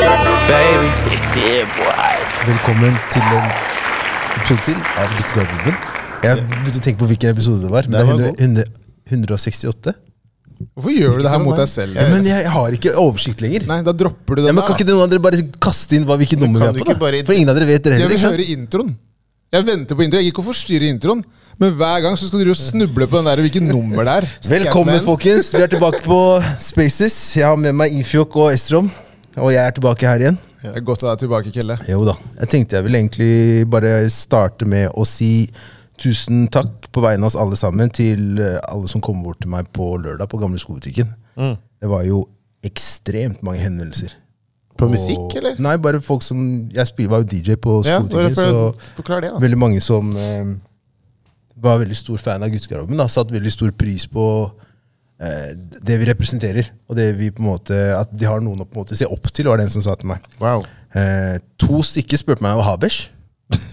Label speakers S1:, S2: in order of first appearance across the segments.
S1: baby.
S2: Velkommen til en episode til av Guttegarderoben. Jeg begynte å tenke på hvilken episode det var. Det
S3: Den
S2: er
S3: var
S2: 100, 100, 168.
S3: Hvorfor gjør du det her mot deg selv?
S2: Ja, men jeg, jeg har ikke oversikt lenger.
S3: Nei, da dropper du
S2: Ja,
S3: den.
S2: men Kan ikke noen av dere bare kaste inn hva, hvilket nummer vi
S1: kan
S2: er
S1: du
S2: på? da?
S1: ikke bare-
S2: For ingen av dere vet dere
S3: Jeg
S2: heller.
S3: vil
S2: ikke sant?
S3: høre introen. Jeg venter på introen. Jeg gikk og forstyrrer introen. Men hver gang så skal du jo snuble på den der hvilket nummer det er.
S2: Velkommen,
S1: Scatman.
S2: folkens. Vi er tilbake på Spaces. Jeg har med meg Ifjok og Estrom. Og jeg er tilbake her igjen.
S3: Det er godt å være tilbake, Kelle.
S2: Jo da. Jeg tenkte jeg ville egentlig bare starte med å si tusen takk på vegne av oss alle sammen til eh, alle som kom bort til meg på lørdag på Gamle skobutikken.
S1: Mm.
S2: Det var jo ekstremt mange henvendelser.
S1: På
S2: Og-
S1: musikk, eller?
S2: Nei, bare folk som Jeg spil, var jo DJ på
S1: Ja, bare
S2: skobutikken,
S1: for å
S2: så
S1: forklare det, da.
S2: veldig mange som eh, var veldig stor fan av guttegarderoben, da, satte veldig stor pris på eh, det vi representerer, og det vi på en måte At de har noen å på en måte se opp til, var det en som sa til meg.
S1: Wow.
S2: Eh, to stykker spurte meg om habers.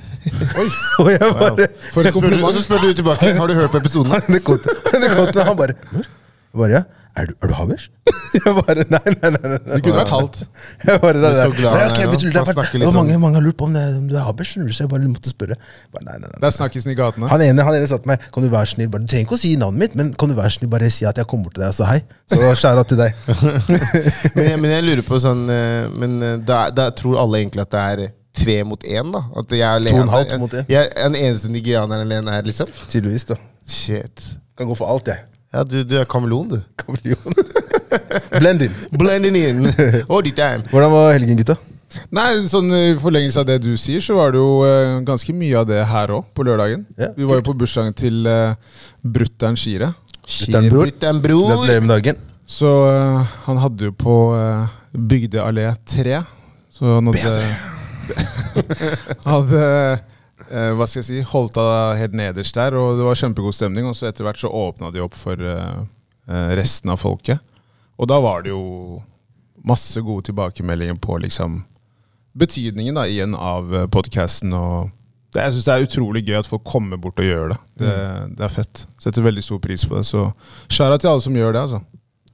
S2: og jeg bare
S3: For et
S1: Spør du, og så
S3: kompliment.
S1: spør du tilbake. Har du hørt på episoden?
S2: Det kom til det kom til meg, han bare Hvor? Jeg bare, ja. Er du, er du habers? Jeg bare Nei, nei, nei. nei, nei.
S3: Det kunne vært halvt.
S2: Jeg bare, det,
S1: Du er
S2: der.
S1: så glad
S2: Nei,
S1: han
S2: ok,
S1: er nå.
S2: vet du, det er
S1: Han
S2: bare,
S1: snakker
S2: det var
S1: liksom-
S2: mange, mange har lurt på om, det, om du er habers, skjønner du, så jeg bare måtte spørre. Jeg Bare, nei, nei, nei.
S3: Det er snakkisen i gatene.
S2: Han ene, han ene sa til meg Kan du være snill, bare, du trenger ikke å si navnet mitt, men kan du være snill bare si at jeg kom bort til deg og sa hei? Så skjæra til deg.
S1: Men jeg, men jeg lurer på sånn eh, Men eh, da, da tror alle egentlig at det er eh, tre mot én, da? At jeg er alene.
S2: og en halv mot én.
S1: Jeg, jeg er den eneste nigerianeren alene her, liksom?
S2: Tydeligvis, da.
S1: Shit.
S2: Kan gå for alt, jeg.
S1: Ja, du, du er kameleon, du.
S2: Kameleon. Blend in.
S1: Blending in all the time.
S2: Hvordan var helgen, gutta?
S3: Nei, sånn I forlengelse av det du sier, så var det jo eh, ganske mye av det her òg, på lørdagen.
S2: Ja,
S3: Vi var jo på bursdagen til eh, brutter'n Shire.
S2: Brutter'n Bror.
S1: Brutter'n bror.
S2: Gratulerer med dagen.
S3: Så eh, han hadde jo på eh, Bygdeallé 3. Så han hadde, hadde eh, hva skal jeg si, holdt av helt nederst der, og det var kjempegod stemning. Og så etter hvert så åpna de opp for eh, eh, resten av folket. Og da var det jo masse gode tilbakemeldinger på liksom betydningen da, igjen av podkasten. Og det, jeg syns det er utrolig gøy at folk kommer bort og gjør det. Det, det er fett. Setter veldig stor pris på det. Så skjæra til alle som gjør det, altså.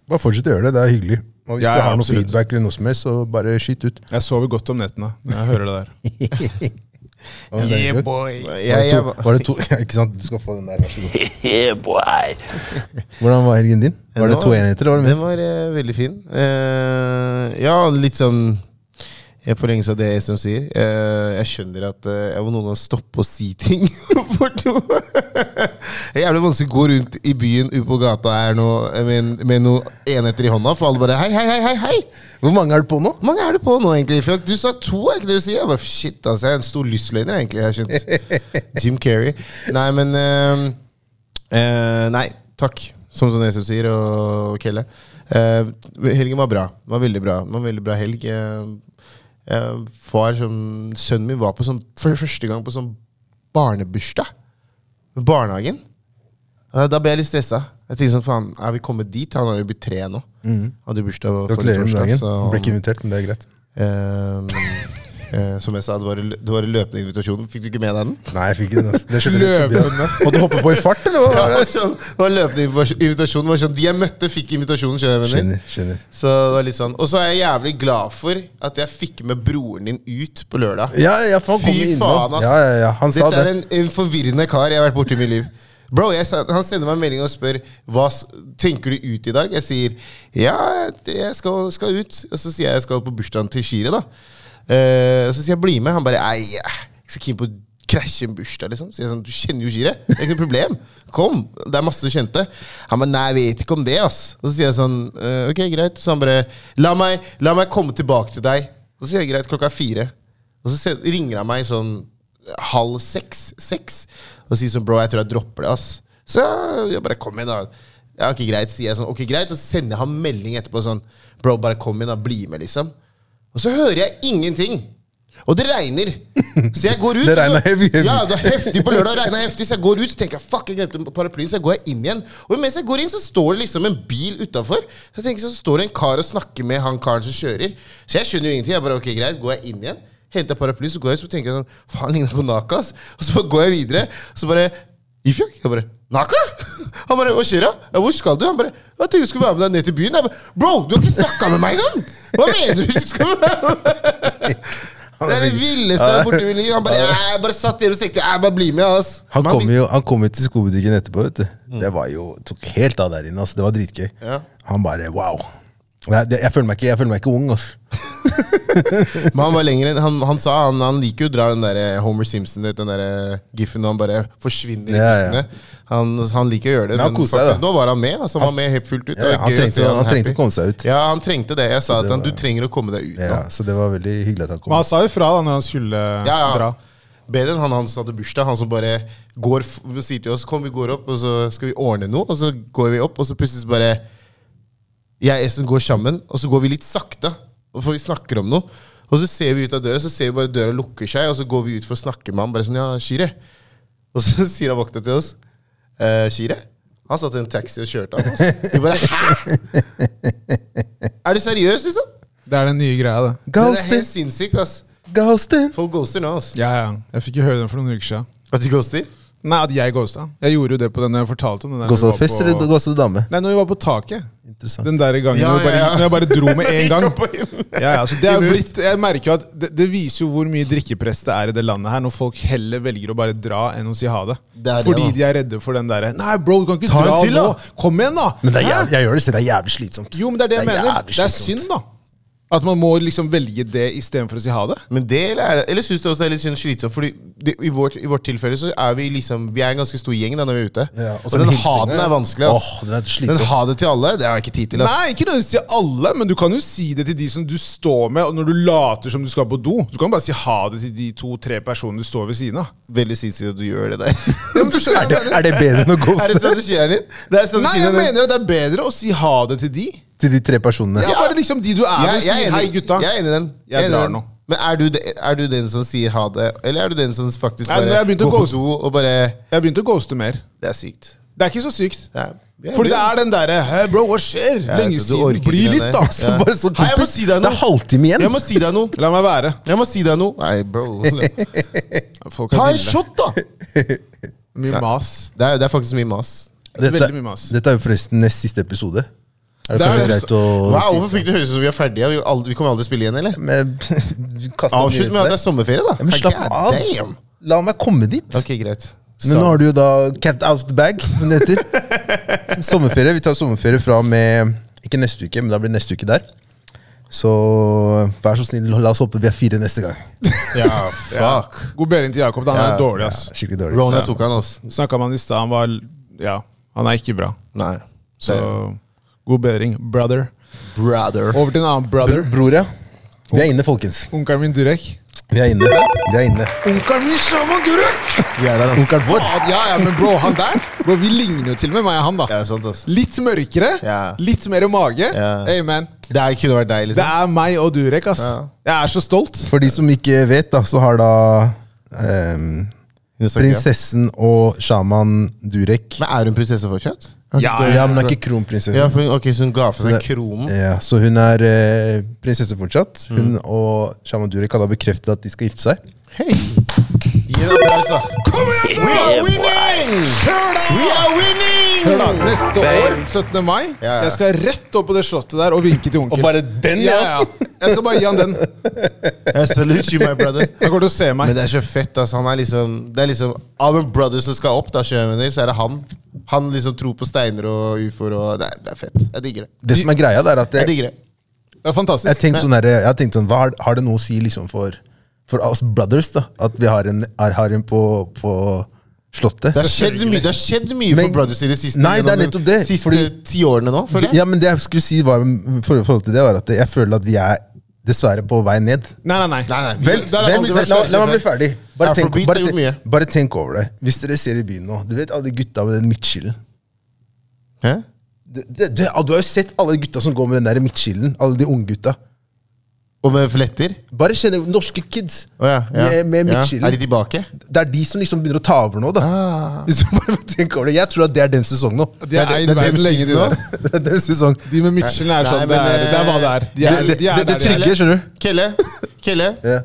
S2: Bare fortsett å gjøre det. Det er hyggelig. Og hvis
S3: Ja,
S2: du har noe
S3: absolutt.
S2: feedback, eller noe som helst, så bare skyt ut.
S3: Jeg sover godt om nettene når jeg hører det der.
S2: Hva med deg, Bjørn?
S1: Jeg, jeg,
S2: var, det to, var det to ja, Ikke sant, du skal få den der, vær så god. Hvordan var helgen din? Var det
S1: Den
S2: to enheter? eller Var det
S1: Den var eh, veldig fin. Eh, ja, litt sånn i forlengelse av det Estem sier. eh, jeg skjønner at eh, jeg må noen ganger stoppe å si ting. For noe. det er jævlig vanskelig å gå rundt i byen ute på gata her nå eh, med, en- med noen enheter i hånda, for alle bare hei, hei, hei, hei. hei.
S2: mer? Hvor mange er du på nå?
S1: Hvor mange er du på nå, egentlig? Fuck, du sa to, er ikke det du sier? Jeg bare, shit, altså, jeg er en stor lystløgner, egentlig. Jeg har skjønt. Jim Carrey. Nei, men eh, eh, Nei, takk, som Sånn Esum sier, og Kelle. Eh, helgen var bra. Den var veldig bra. Det var en veldig bra helg. Eh, eh, far, som, sønnen min var på sånn, for første gang på sånn barnebursdag. Barnehagen. Ja, Da ble jeg litt stressa. Jeg tenkte sånn, faen, Er vi kommet dit? Han har jo blitt tre nå. Hadde bursdag
S2: Mm.
S1: forrige
S2: Gratulerer med
S1: torsdag,
S2: dagen.
S1: så
S2: Du ble ikke invitert, men det er greit.
S1: Ehm, eh, som jeg sa, det var, i lø- det var i løpende invitasjonen. Fikk du ikke med deg den?
S2: Nei, jeg fikk ikke den. altså. Det skjønner jeg
S3: Løpende.
S2: Tobias. Måtte hoppe på i fart, eller hva?
S1: Det
S2: var det?
S1: var, sånn, det var løpende invas- invitasjon. Det var sånn, de jeg møtte, fikk invitasjonen. skjønner du hva jeg mener?
S2: Skjønner. skjønner
S1: Så det var litt sånn Og så er jeg jævlig glad for at jeg fikk med broren din ut på lørdag.
S2: Ja, ja, for han kom
S1: Fy
S2: innom.
S1: faen, ass!
S2: Ja, ja, ja. Han sa
S1: Dette
S2: det.
S1: er en, en forvirrende kar jeg har vært borti i mitt liv. Bro, jeg, sa- Han sender meg en melding og spør hva s- tenker du ut i dag. Jeg sier ja, det- jeg skal, skal ut. Og så sier jeg jeg skal på bursdagen til Shire. da Eh, og Så sier jeg bli med. Han bare nei, jeg er ikke så keen på å krasje en bursdag. liksom Så jeg sånn, Du kjenner jo Shire. Det er ikke noe problem. Kom. Det er masse kjente. Han bare nei, jeg vet ikke om det. ass Og så sier jeg sånn «Eh, ok, greit. Så han bare la meg, la meg komme tilbake til deg. Og så sier jeg greit, klokka er fire. Og så se- ringer han meg sånn halv seks, seks, og sier sånn, bro, jeg tror jeg dropper det, ass. Så jeg bare, kom igjen da. Ja, ok, greit, sier jeg sånn, ok, greit. Så sender jeg ham melding etterpå sånn, bro, bare kom igjen da, bli med, liksom. Og så hører jeg ingenting. Og det regner. Så jeg går ut.
S2: Det regner heavy, heavy.
S1: Ja, det er heftig på lørdag. regnet heftig, Så jeg går ut så tenker jeg, fuck, jeg glemte paraplyen. Så jeg går jeg inn igjen. Og mens jeg går inn, så står det liksom en bil utafor. Så jeg tenker, så står det en kar og snakker med han karen som kjører. Så jeg skjønner jo ingenting. Jeg bare, ok, greit, går jeg inn igjen, henter jeg paraply, så går jeg ut, så tenker jeg sånn, faen, ligner på Naka, ass. Og så bare går jeg videre, så bare Ifjok? Jeg bare Naka? Han bare Hva skjer da? Ja, Hvor skal du? Han bare Jeg tenkte jeg skulle være med deg ned til byen. Jeg bare Bro, du har ikke snakka med meg engang! Hva mener du du skal være med? Det er det villeste jeg har vært borti i mitt liv. Han bare, jeg bare satt hjemme og tenkte jeg bare bli med. ass.
S2: Han
S1: Men
S2: kom jo han kom jo til skobutikken etterpå. vet du Det var jo, tok helt av der inne. ass. Det var dritgøy.
S1: Mm. Ja.
S2: Han bare wow. Nei, det, jeg, føler meg ikke, jeg føler meg ikke ung. altså. ass
S1: Men han var lenger enn han, han sa han, han liker jo å dra den der eh, Homer Simpson, du vet, den der eh, giffen når han bare forsvinner i
S2: Ja, ja.
S1: bussene. Han, han liker å gjøre det,
S2: Men han koser seg, da.
S1: nå var han med. Altså, han var med helt fullt ut.
S2: Ja,
S1: Det var
S2: han
S1: gøy å
S2: trengte-
S1: se
S2: han trengte
S1: happy.
S2: å komme seg ut.
S1: Ja, han trengte det. Jeg sa
S2: det
S1: til han
S2: var-
S1: du trenger å komme deg ut nå.
S2: ja, Så det var veldig hyggelig at han kom.
S3: Men han sa jo fra da når han skulle
S1: Ja, ja.
S3: dra.
S1: Bedre enn han han som hadde bursdag. Han som bare går, f- sier til oss Kom, vi går opp, og så skal vi ordne noe. Og så går vi opp, og så plutselig så bare Jeg og Espen går sammen, og så går vi litt sakte. og For vi snakker om noe. Og så ser vi ut av døra, så ser vi bare døra lukker seg, og så går vi ut for å snakke med han. Bare sånn, ja, Shire. Og så sier han vakta til oss eh, Shire? Han satt i en taxi og kjørte av oss. Vi bare Hæ?! Er du seriøs, liksom?
S3: Det er den nye greia, det.
S1: Det er
S2: Ghosten!
S1: helt sinnssykt, ass.
S2: Ghosten!
S1: Folk ghoster nå, ass.
S3: Ja, ja. Jeg fikk jo høre den for noen uker siden.
S1: At de ghoster?
S3: Nei, at jeg ghosta. Jeg gjorde jo det på den jeg fortalte om. Den der
S2: Ghosta
S3: vi var
S2: fest
S3: på-
S2: eller ghosta dame?
S3: Nei, når vi var på taket.
S2: Interessant.
S3: Den der gangen
S1: Ja,
S3: når, vi bare,
S1: ja, ja.
S3: når jeg bare dro med én gang.
S1: Gang.
S3: Ja, ja, så det er jo blitt, jeg merker jo at det, det viser jo hvor mye drikkepress det er i det landet her, når folk heller velger å bare dra enn å si ha det.
S1: Det er det,
S3: Fordi
S1: da.
S3: de er redde for den derre Nei, bro, du kan ikke
S1: Ta en
S3: dra
S1: til,
S3: nå!
S1: da!»
S3: Kom igjen, da!
S2: Men det er,
S3: Hæ?
S2: jæv- jeg gjør det, så det er jævlig slitsomt.
S3: Jo, men det er det jeg mener.
S2: jævlig
S3: Det er
S2: slitsomt.
S3: synd, da. At man må liksom velge det istedenfor å si ha det.
S1: Men det, eller, er det, eller synes du også det er litt sånn slitsomt? Fordi det, i, vårt, I vårt tilfelle så er vi liksom Vi er en ganske stor gjeng da når vi er ute.
S2: Ja, og
S1: og
S2: så
S1: den
S2: hilsene.
S1: ha-den er vanskelig. Ass.
S2: Åh, den er slitsom.
S1: den ha det til alle, det har jeg ikke tid til. Ass.
S3: Nei, ikke nødvendigvis til alle, men du kan jo si det til de som du står med, og når du later som du skal på do. Så kan du bare si ha det til de to-tre personene du står ved siden av.
S1: Veldig sinnssykt at du gjør det der.
S2: Er det, er det bedre enn å
S1: er det
S2: ghoste
S1: strategien din? Det er sånn
S3: Nei,
S1: strategien
S3: jeg
S1: din.
S3: mener at det er bedre å si ha det til de.
S2: til de tre personene?
S3: Ja, bare liksom de du er med,
S1: jeg, jeg, er
S3: sier
S1: enig,
S3: hei, gutta.
S1: jeg er enig i den.
S3: Jeg
S1: er enig i
S3: drar
S1: den.
S3: nå.
S1: Men er du, de, er du den som sier ha det, eller er du den som faktisk
S3: Nei, når
S1: bare
S3: jeg begynte å
S1: går på
S3: ghoste-
S1: do og bare
S3: Jeg begynte å ghoste mer.
S1: Det er sykt.
S3: Det er ikke så sykt.
S1: Det er, jeg
S3: Fordi
S1: blir-
S3: det er den derre Hei, bro, hva skjer?
S1: Ja,
S3: Lenge
S1: du
S3: siden.
S1: orker
S3: Bli
S1: ikke den
S3: litt,
S1: der.
S3: da.
S2: Altså,
S1: Ja.
S2: bare sånn,
S1: Hei, jeg må
S2: kompis,
S1: si deg
S2: det
S1: noe.
S2: er halvtime
S1: Jeg
S2: igjen.
S1: må si deg noe.
S3: La meg være.
S1: Jeg må si deg noe. Nei, bro.
S3: Folk
S1: Ta
S3: er
S1: en
S3: ville.
S1: shot, da!
S3: Mye mas.
S1: Det er, det er faktisk mye mas.
S3: Veldig mye mas.
S2: dette er jo forresten nest siste episode. Er det,
S3: Det er
S2: kanskje
S3: det-
S2: greit å
S1: Wow,
S2: si?
S1: hvorfor fikk det høres ut som vi liksom- er ferdige? Vi, aldri, vi kommer aldri spille igjen, eller?
S2: Men, du kastet
S1: Avslutt med at
S2: nyhetene.
S1: det er sommerferie, da.
S2: Ja, men slapp
S1: God
S2: av.
S1: damn.
S2: La meg komme dit.
S1: Ok, greit.
S2: Men nå har du jo da cat out the bag, som det heter. sommerferie. Vi tar sommerferie fra og med Ikke neste uke, men da blir det neste uke der. Så vær så snill, la oss håpe vi er fire neste gang.
S1: Ja, fuck.
S3: God bedring til Jakob. da. Han
S1: Ja.
S3: er dårlig, ass.
S2: Skikkelig dårlig.
S1: Rona tok han, altså.
S3: Snakka med han i stad. Han var Ja, han er ikke bra.
S1: Nei.
S3: Så god bedring, brother.
S1: Brother.
S3: Over til en annen
S2: Br
S3: brother.
S2: bror, ja. Vi er inne, folkens.
S3: Onkelen min Durek.
S2: Vi er inne. Vi er inne.
S3: Onkelen min Shaman Durek!
S1: Vi er der, altså.
S2: Onkelen vår.
S3: Ja, ja, men bro, han der Bro, Vi ligner jo til og med meg og han, da.
S1: Ja, sant, altså.
S3: Litt mørkere,
S1: Ja.
S3: litt mer mage.
S1: Ja.
S3: Amen.
S1: Det her kunne vært deg,
S3: Det
S1: liksom.
S3: er meg og Durek, ass.
S1: Ja.
S3: Jeg er så stolt.
S2: For de som ikke vet, da, så har da ehm,
S1: Hun sa ikke ja.
S2: prinsessen og sjaman Durek
S1: Men er hun prinsesse fortsatt?
S3: Ja,
S2: Ja, men hun er ikke
S1: Ja,
S2: kronprinsesse.
S1: for hun, ok, Så hun ga fra seg
S2: Det-
S1: kronen?
S2: Ja, så hun er eh, prinsesse fortsatt.
S1: Mm.
S2: Hun og sjaman Durek har da bekreftet at de skal gifte seg.
S1: Hei! Gi en applaus, da.
S3: Kom igjen, da!
S1: We are winning!
S3: Kjør, da!
S1: We are winning!
S3: Hør da, Neste år, 17. mai,
S1: Ja.
S3: jeg skal rett opp på det slottet der og vinke til onkel.
S2: den,
S3: ja, ja. Jeg skal bare gi han den.
S1: I salute you, my brother.
S3: Han kommer til å se meg.
S1: Men det er så fett. ass. Han er liksom, det er liksom Av en brother som skal opp, da, sjøvenner, så er det han. Han liksom tror på steiner og ufoer. Og det, er, det er fett. Jeg digger det.
S2: Det som er greia, det er at
S1: Jeg
S2: jeg,
S1: digger det.
S3: Det er
S2: jeg,
S3: fantastisk.
S2: tenkte sånn der, jeg har tenkt sånn, hva har, har det noe å si liksom for, for oss brothers, da? At vi har en, er, har en på, på slottet?
S1: Det har skjedd mye, det har skjedd mye
S2: Men-
S1: for brothers i det siste
S2: Nei, det er
S1: gjennom
S2: nettopp det,
S1: siste
S2: fordi-
S1: ti årene nå, føler jeg.
S2: Ja, men det jeg skulle si var, for, forhold til det, var at jeg føler at vi er dessverre på vei ned.
S3: Nei, nei, nei.
S1: Nei, nei, vi-
S2: Vent,
S1: der er
S2: vent,
S1: aldri
S2: la,
S1: vært
S2: la,
S1: sterkere
S2: la meg bli
S1: før.
S2: ferdig. Bare tenk,
S1: Afrobeats
S2: bare,
S1: har gjort mye.
S2: tenk, bare tenk over det. Hvis dere ser i byen nå Du vet alle de gutta med den midtskillen?
S1: Hæ?
S2: Du, du, du, du har jo sett alle de gutta som går med den der midtskillen. Alle de unggutta.
S1: Og med fletter.
S2: Bare kjenn norske kids
S1: Å ja, ja.
S2: med, med
S1: ja.
S2: midtskillen.
S1: Er de tilbake?
S2: Det er de som liksom begynner å ta over nå, da.
S1: Ah.
S2: Hvis du bare tenker over det Jeg tror at det er deres sesong nå.
S3: De er eid verden lenge, de der.
S2: Det er deres sesong.
S3: De med Michelin er
S1: Nei,
S3: sånn.
S1: men,
S3: det, er, det er hva det er. De er,
S2: det-
S3: de er
S2: det- det
S3: der de er.
S2: trigger- skjønner du.
S1: Kelle, Kelle.
S2: Ja.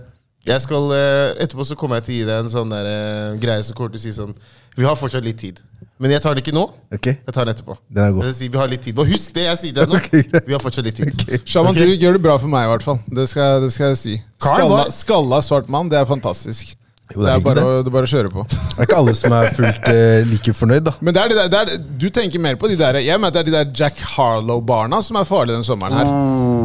S1: Jeg skal, eh, etterpå så kommer jeg til å gi deg en sånn der, eh, greie som kommer til å si sånn Vi har fortsatt litt tid. Men jeg tar det ikke nå.
S2: Ok?
S1: Jeg tar det etterpå.
S2: Den er god.
S1: Jeg sier vi har litt tid. Bare husk det jeg sier deg nå.
S2: Ok, greit.
S1: Vi har fortsatt litt tid.
S3: Shaman, du gjør det bra for meg, i hvert fall. Det skal, det skal jeg si.
S1: Karl
S3: Skalla,
S1: var-
S3: skalla svart mann, det er fantastisk.
S2: Jo, det er
S3: det, er
S2: hyggelig,
S3: bare, å- det er bare å kjøre på.
S2: Det er ikke alle som er fullt eh, like fornøyd, da.
S3: Men det er det der, det er, du tenker mer på de der Jeg mener at det er de der Jack Harlow-barna som er farlige denne sommeren her.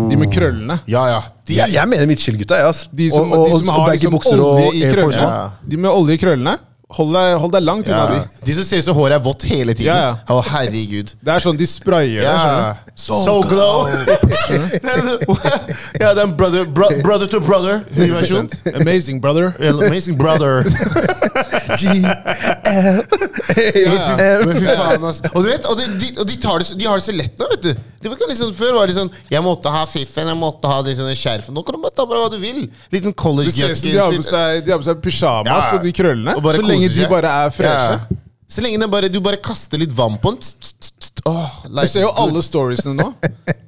S3: De med krøllene.
S1: Ja, ja. De,
S2: Jeg, jeg mener Midtskill-gutta, jeg, altså.
S3: De som,
S2: og, og,
S3: de som
S2: og,
S3: har
S2: baggy
S3: liksom
S2: bukser
S3: olje
S2: og
S3: i
S2: Air Force
S3: krøllene.
S2: One.
S3: De med olje i krøllene. Hold deg, hold deg langt unna
S1: ja.
S3: de.
S1: de som ser ut som håret er vått hele tiden.
S3: Ja, ja.
S1: Å, herregud.
S3: Det er sånn de sprayer det. skjønner
S1: Ja.
S3: du?
S1: So, glow! ja, den brother, bro, brother to brother. ny versjon.
S3: 100%. Amazing, brother.
S1: Amazing brother.
S3: Ja,
S1: Men fy faen, ass. Og du vet, og de, de, og de, tar det, så- de har det så lett nå, vet du. Det var ikke liksom, før var det sånn Jeg måtte ha fiffen, jeg måtte ha liksom, skjerfen. Nå kan du bare ta på deg hva du vil. Liten
S3: Du ser ut som de har med
S1: college-jakke.
S3: seg, de har med seg pysjamas
S1: Ja.
S3: og de krøllene.
S1: Og bare
S3: Så lenge
S1: koser
S3: de
S1: seg.
S3: bare er freshe.
S1: Ja. Så lenge den bare, du bare kaster litt vann på den. Tss, tss, tss, tss. Åh, life
S3: Du ser jo
S1: is good.
S3: alle storiesene nå.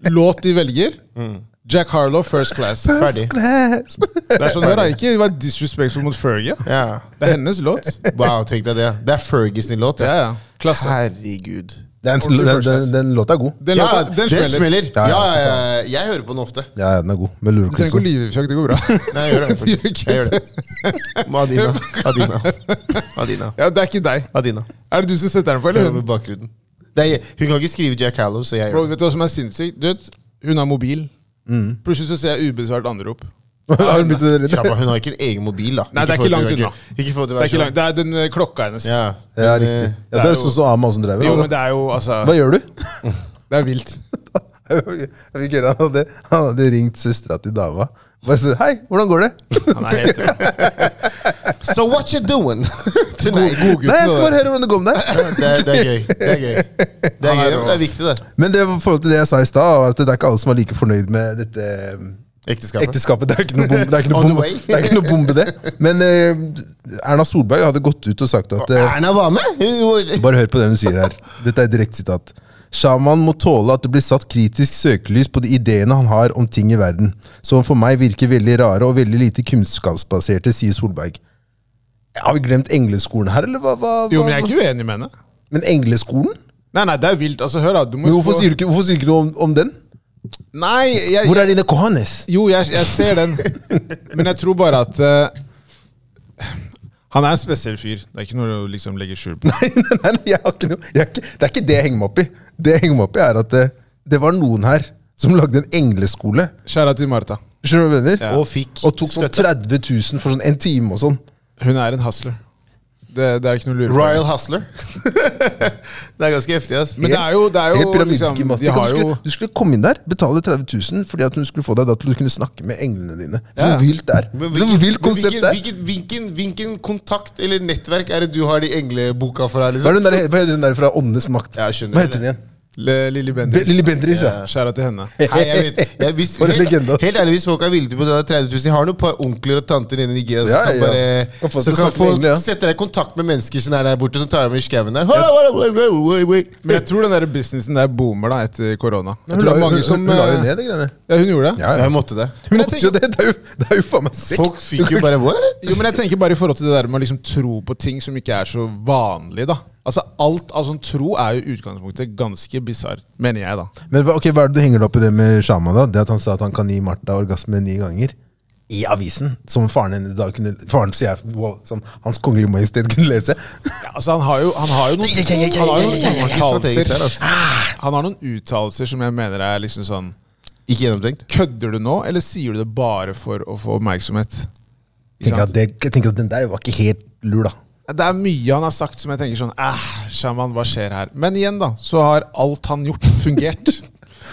S3: Låt de velger.
S1: Mm.
S3: Jack Harlow, First Class.
S1: Ferdig.
S2: Glass.
S3: Det er sånn, det er ikke det var disrespectful mot Fergie.
S1: Ja.
S3: Det er hennes låt.
S1: Wow, tenk deg det. Det er Ferguson i låt.
S3: Ja,
S1: Ja.
S3: ja. Klasse.
S1: Herregud.
S2: Den,
S3: Ordentlig
S2: den,
S3: First
S2: den,
S3: Class.
S2: den låta er god.
S3: Den
S1: ja,
S3: låta, den
S1: det
S3: smeller.
S1: smeller.
S2: Ja,
S1: Ja,
S2: ja,
S1: ja, ja. jeg hører på den ofte.
S2: Ja, ja, den er god. Med
S3: Du trenger ikke å
S2: lureklisse.
S3: livefjøke, det går bra.
S1: Nei, jeg gjør det.
S3: Du gjør ikke
S1: Jeg gjør det. Adina. Adina. Adina.
S3: Ja, det er ikke deg.
S1: Adina.
S3: Er det du som setter den på,
S1: Jeg
S3: eller
S1: hører
S3: hun?
S1: med bakgrunnen. Det er, hun kan ikke skrive Jack Hallow, så jeg
S3: Bro,
S1: gjør det.
S3: vet du hva som er sinnssykt? Du vet, hun har mobil.
S2: Mm.
S3: Plutselig så ser jeg ubesvart anrop.
S2: Har du begynt å redde?
S1: Kjappa, hun har ikke en egen mobil, da.
S3: Nei, det er
S1: for
S3: ikke
S1: at
S3: langt
S1: du-
S3: unna.
S1: Ikke for at du
S3: Det er,
S1: er
S3: ikke
S1: sånn.
S3: langt, det er den eh, klokka hennes.
S1: Ja,
S2: Ja,
S1: men,
S2: riktig.
S1: eh,
S2: Ja, det er sånn som Amon som drev
S3: Jo, men
S2: med. da.
S3: det er jo altså
S2: Hva gjør du?
S3: Det er vilt.
S2: Jeg fikk høre han hadde, han hadde ringt søstera til dama. Bare så, Hei, hvordan går det?
S3: Han er helt rå.
S1: So what you doing tonight?
S2: Nei, jeg skal bare høre hvordan det går med deg.
S1: Det er, det er gøy. Det er gøy. Det er,
S3: Han er
S1: gøy.
S3: rå.
S1: Det er viktig, det.
S2: Men det var i forhold til det jeg sa i stad, var at det er ikke alle som er like fornøyd med dette um,
S1: Ekteskapet.
S2: ekteskapet. Det er ikke noe bombe, det er ikke
S1: On
S2: noe
S1: the
S2: bombe,
S1: way.
S2: det. Er ikke noe bombe det. Men eh, Erna Solberg hadde gått ut og sagt at eh,
S1: Erna var med! Hun var-
S2: Bare hør på det hun sier her. Dette er et direkte sitat. Shaman må tåle at det blir satt kritisk søkelys på de ideene han har om ting i verden, som for meg virker veldig rare og veldig lite kunnskapsbaserte, sier Solberg. Har vi glemt engleskolen her, eller hva? hva, hva?
S3: Jo, men jeg er ikke uenig med henne.
S2: Men engleskolen?
S3: Nei, nei, det er vilt. Altså, hør da. Du må
S2: Men
S3: huske
S2: hvorfor
S3: på-
S2: sier du ikke, hvorfor sier du ikke noe om, om den?
S3: Nei, jeg,
S2: Hvor er dine kohanes?
S3: Jo, jeg, jeg ser den. Men jeg tror bare at eh, Han er en spesiell fyr. Det er ikke noe å liksom legge skjul på.
S2: Nei, nei, nei, jeg har ikke noe jeg har ikke, Det er ikke det jeg henger meg opp i. Det jeg henger meg opp i, er at det, det var noen her som lagde en engleskole.
S3: Kjære til Martha.
S2: Skjønner du hva jeg mener?
S3: Ja.
S1: Og fikk
S2: Og tok sånn 30 000 for sånn en time og sånn.
S3: Hun er en hustler. Det, det er ikke noe å lure på.
S1: Royal Hustler. det er ganske heftig, ass.
S3: Men det er jo, det er
S2: Helt
S3: jo
S2: pyramidiske
S3: liksom,
S2: master.
S3: De
S2: Tenk at du,
S3: har jo
S2: skulle, du skulle komme inn der, betale 30 000 fordi at hun skulle få deg da til å kunne snakke med englene dine. Så
S3: Ja.
S2: vilt det er.
S1: Men
S2: Så
S1: hvilken,
S2: vilt Liksom, konsept
S1: hvilken,
S2: det er.
S1: hvilken, hvilken, hvilken kontakt eller nettverk er det du har de engleboka fra?
S2: Hva
S1: Liksom?
S2: er hun der, hva heter hun der fra Åndenes makt?
S1: Ja, jeg skjønner
S2: Hva heter hun
S1: det.
S2: igjen?
S3: Le- Lilly
S2: Be-
S3: Bendriss.
S2: Lilly Bendriss, ja.
S3: Kjære til henne.
S1: Nei, jeg vet, jeg, hvis,
S2: For en
S1: helt,
S2: legende, ass.
S1: helt ærlig, hvis folk er villige til å betale 30 000 Jeg har noen par onkler og tanter nede i Nigeria som
S2: Ja,
S1: kan
S2: ja.
S1: bare
S2: Kan få snakke
S1: som kan
S2: med
S1: få
S2: engler, ja.
S1: sette deg i kontakt med mennesker som er der borte, som tar deg med i skauen der. Hold on, hold on, wait, wait, wait, wait.
S3: Men jeg tror den der businessen der boomer da etter korona. Jeg
S2: Hun
S3: tror
S2: la
S3: det er
S2: jo-
S3: mange
S2: hun-
S3: som
S2: hun la jo
S3: eh,
S2: ned de greiene.
S3: Ja, hun gjorde det.
S2: Ja, ja.
S1: Jeg måtte det.
S2: Hun
S3: Men jeg
S2: måtte jo det. Det er jo, det er jo faen meg sekk.
S1: Folk fikk jo bare What?
S3: Jo, men jeg tenker bare i forhold til det der med å liksom tro på ting som ikke er så vanlig, da. Altså alt av sånn tro er jo i utgangspunktet ganske bisarr, mener jeg, da.
S2: Men hva, ok, hva er det du henger deg opp i det med Shaman? da? Det at han sa at han kan gi Martha orgasme ni ganger? I avisen, som faren hennes da kunne Faren sier jeg, wow, som Hans Kongelige Majestet kunne lese.
S3: Ja, altså han har jo, han har jo noen,
S2: Ja, ja, ja, ja,
S3: han har jo
S2: ja, ja,
S3: noen
S2: ja,
S1: ja. Strategisk der,
S3: uttalelser
S1: altså.
S3: Han har noen uttalelser som jeg mener er liksom sånn
S1: Ikke gjennomtenkt.
S3: Kødder du nå, eller sier du det bare for å få oppmerksomhet? Ikke
S2: Tenk at,
S3: sant?
S2: det, jeg tenker at den der var ikke helt lur, da.
S3: Det er mye han har sagt som jeg tenker sånn Æh, sjaman, hva skjer her? Men igjen, da, så har alt han gjort, fungert.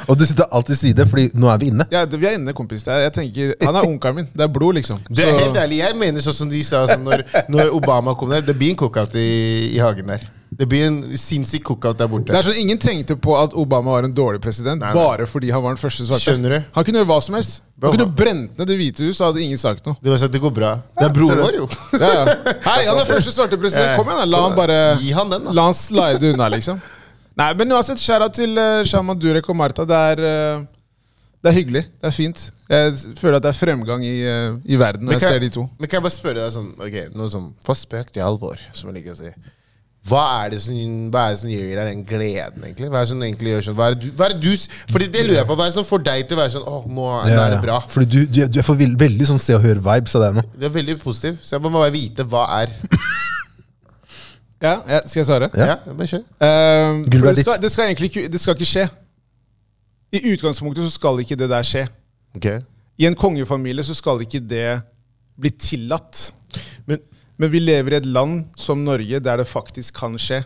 S2: Og du sitter alltid i side, fordi nå er vi inne.
S3: Ja, det- vi er inne, kompis. Det er- Jeg tenker, Han er onkelen min. Det er blod, liksom.
S1: Det er
S3: Så-
S1: helt ærlig, Jeg mener sånn som de sa sånn når, når Obama kom der. Det blir en cookout i, i hagen der. Det blir en sinnssyk cookout der
S3: Det
S1: borte.
S3: er sånn Ingen tenkte på at Obama var en dårlig president
S1: Nei, nei.
S3: bare fordi han var den første svarte.
S1: Skjønner du?
S3: Han kunne gjøre hva som helst. Han
S1: Bro,
S3: kunne
S1: han-
S3: brent ned Det hvite hus, så hadde ingen sagt noe.
S1: Det var sånn, det går bra. Det er broren vår, jo.
S3: Ja, ja. Hei, han er første svarte president! Kom igjen, da! La han bare
S1: Gi han den, da.
S3: La han slide unna, liksom. Nei, men uansett, skjæra til eh, Shaman Durek og Martha. Det er, eh, det er hyggelig. Det er fint. Jeg s- føler at det er fremgang i, eh, i verden når jeg
S1: kan,
S3: ser de to.
S1: men kan jeg bare spørre deg sånn, ok, noe sånn for spøk til alvor, som jeg liker å si. Hva er det som, hva er det som gjør deg den gleden, egentlig? Hva er det som egentlig gjør sånn? Hva er det du, hva er det du s- Fordi det lurer jeg på. Hva er det som får deg til å være sånn Åh, nå, er- nå er det bra.
S2: Fordi du, du, du er for vill- veldig sånn se og hør-vibes av deg nå.
S1: Du er veldig positiv, så jeg må bare vite hva er
S3: Ja, ja, skal jeg svare?
S2: Ja.
S1: Ja, bare kjør.
S3: Ehm,
S2: Gulvet
S3: for
S2: er
S3: det, skal,
S2: ditt.
S3: det skal egentlig ikke, det skal ikke skje. I utgangspunktet så skal ikke det der skje. I en kongefamilie så skal ikke det bli tillatt. Men, men vi lever i et land som Norge der det faktisk kan skje.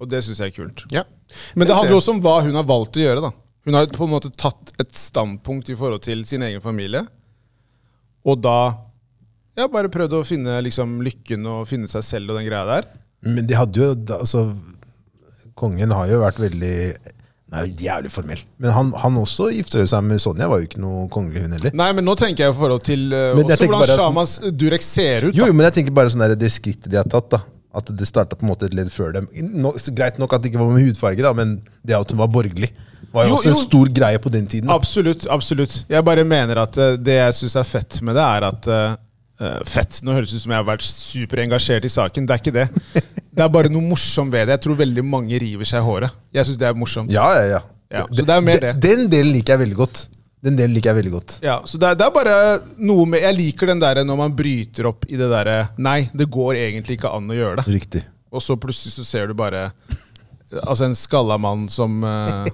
S3: Og det syns jeg er kult.
S1: Ja.
S3: Men
S1: Det
S3: det handler
S1: ser-
S3: også om hva hun har valgt å gjøre. da. Hun har på en måte tatt et standpunkt i forhold til sin egen familie. Og da ja, bare prøvd å finne liksom, lykken og finne seg selv og den greia der.
S2: Men de hadde jo da- altså, Kongen har jo vært veldig Nei, jævlig formell. Men han, han også gifta jo seg med Sonja. Var jo ikke noe kongelig, hun heller.
S3: Nei, men nå tenker jeg i forhold til eh,
S2: Men jeg
S3: også
S2: tenker
S3: hvordan
S2: bare at-
S3: Shamas Durek ser ut.
S2: Jo,
S3: da.
S2: jo, men jeg tenker bare sånn der, det skrittet de har tatt. da At det starta på en måte et ledd før dem. Nå, så greit nok at det ikke var med hudfarge, da men det at hun var borgerlig, var jo,
S3: Jo,
S2: også en
S3: jo.
S2: stor greie på den tiden. da.
S3: Absolutt. absolutt. Jeg bare mener at eh, det jeg syns er fett med det, er at eh, eh, Fett. Nå høres det ut som jeg har vært superengasjert i saken. Det er ikke det. Det er bare noe morsomt ved det. Jeg tror veldig mange river seg i håret. Jeg syns det er morsomt.
S2: Ja, ja, ja.
S3: Ja, så det er mer det.
S2: Den delen liker jeg veldig godt. Den delen liker jeg veldig godt.
S3: Ja, så det er, det er bare noe med Jeg liker den derre når man bryter opp i det derre Nei, det går egentlig ikke an å gjøre det.
S2: Riktig.
S3: Og så plutselig så ser du bare Altså en skalla mann som eh,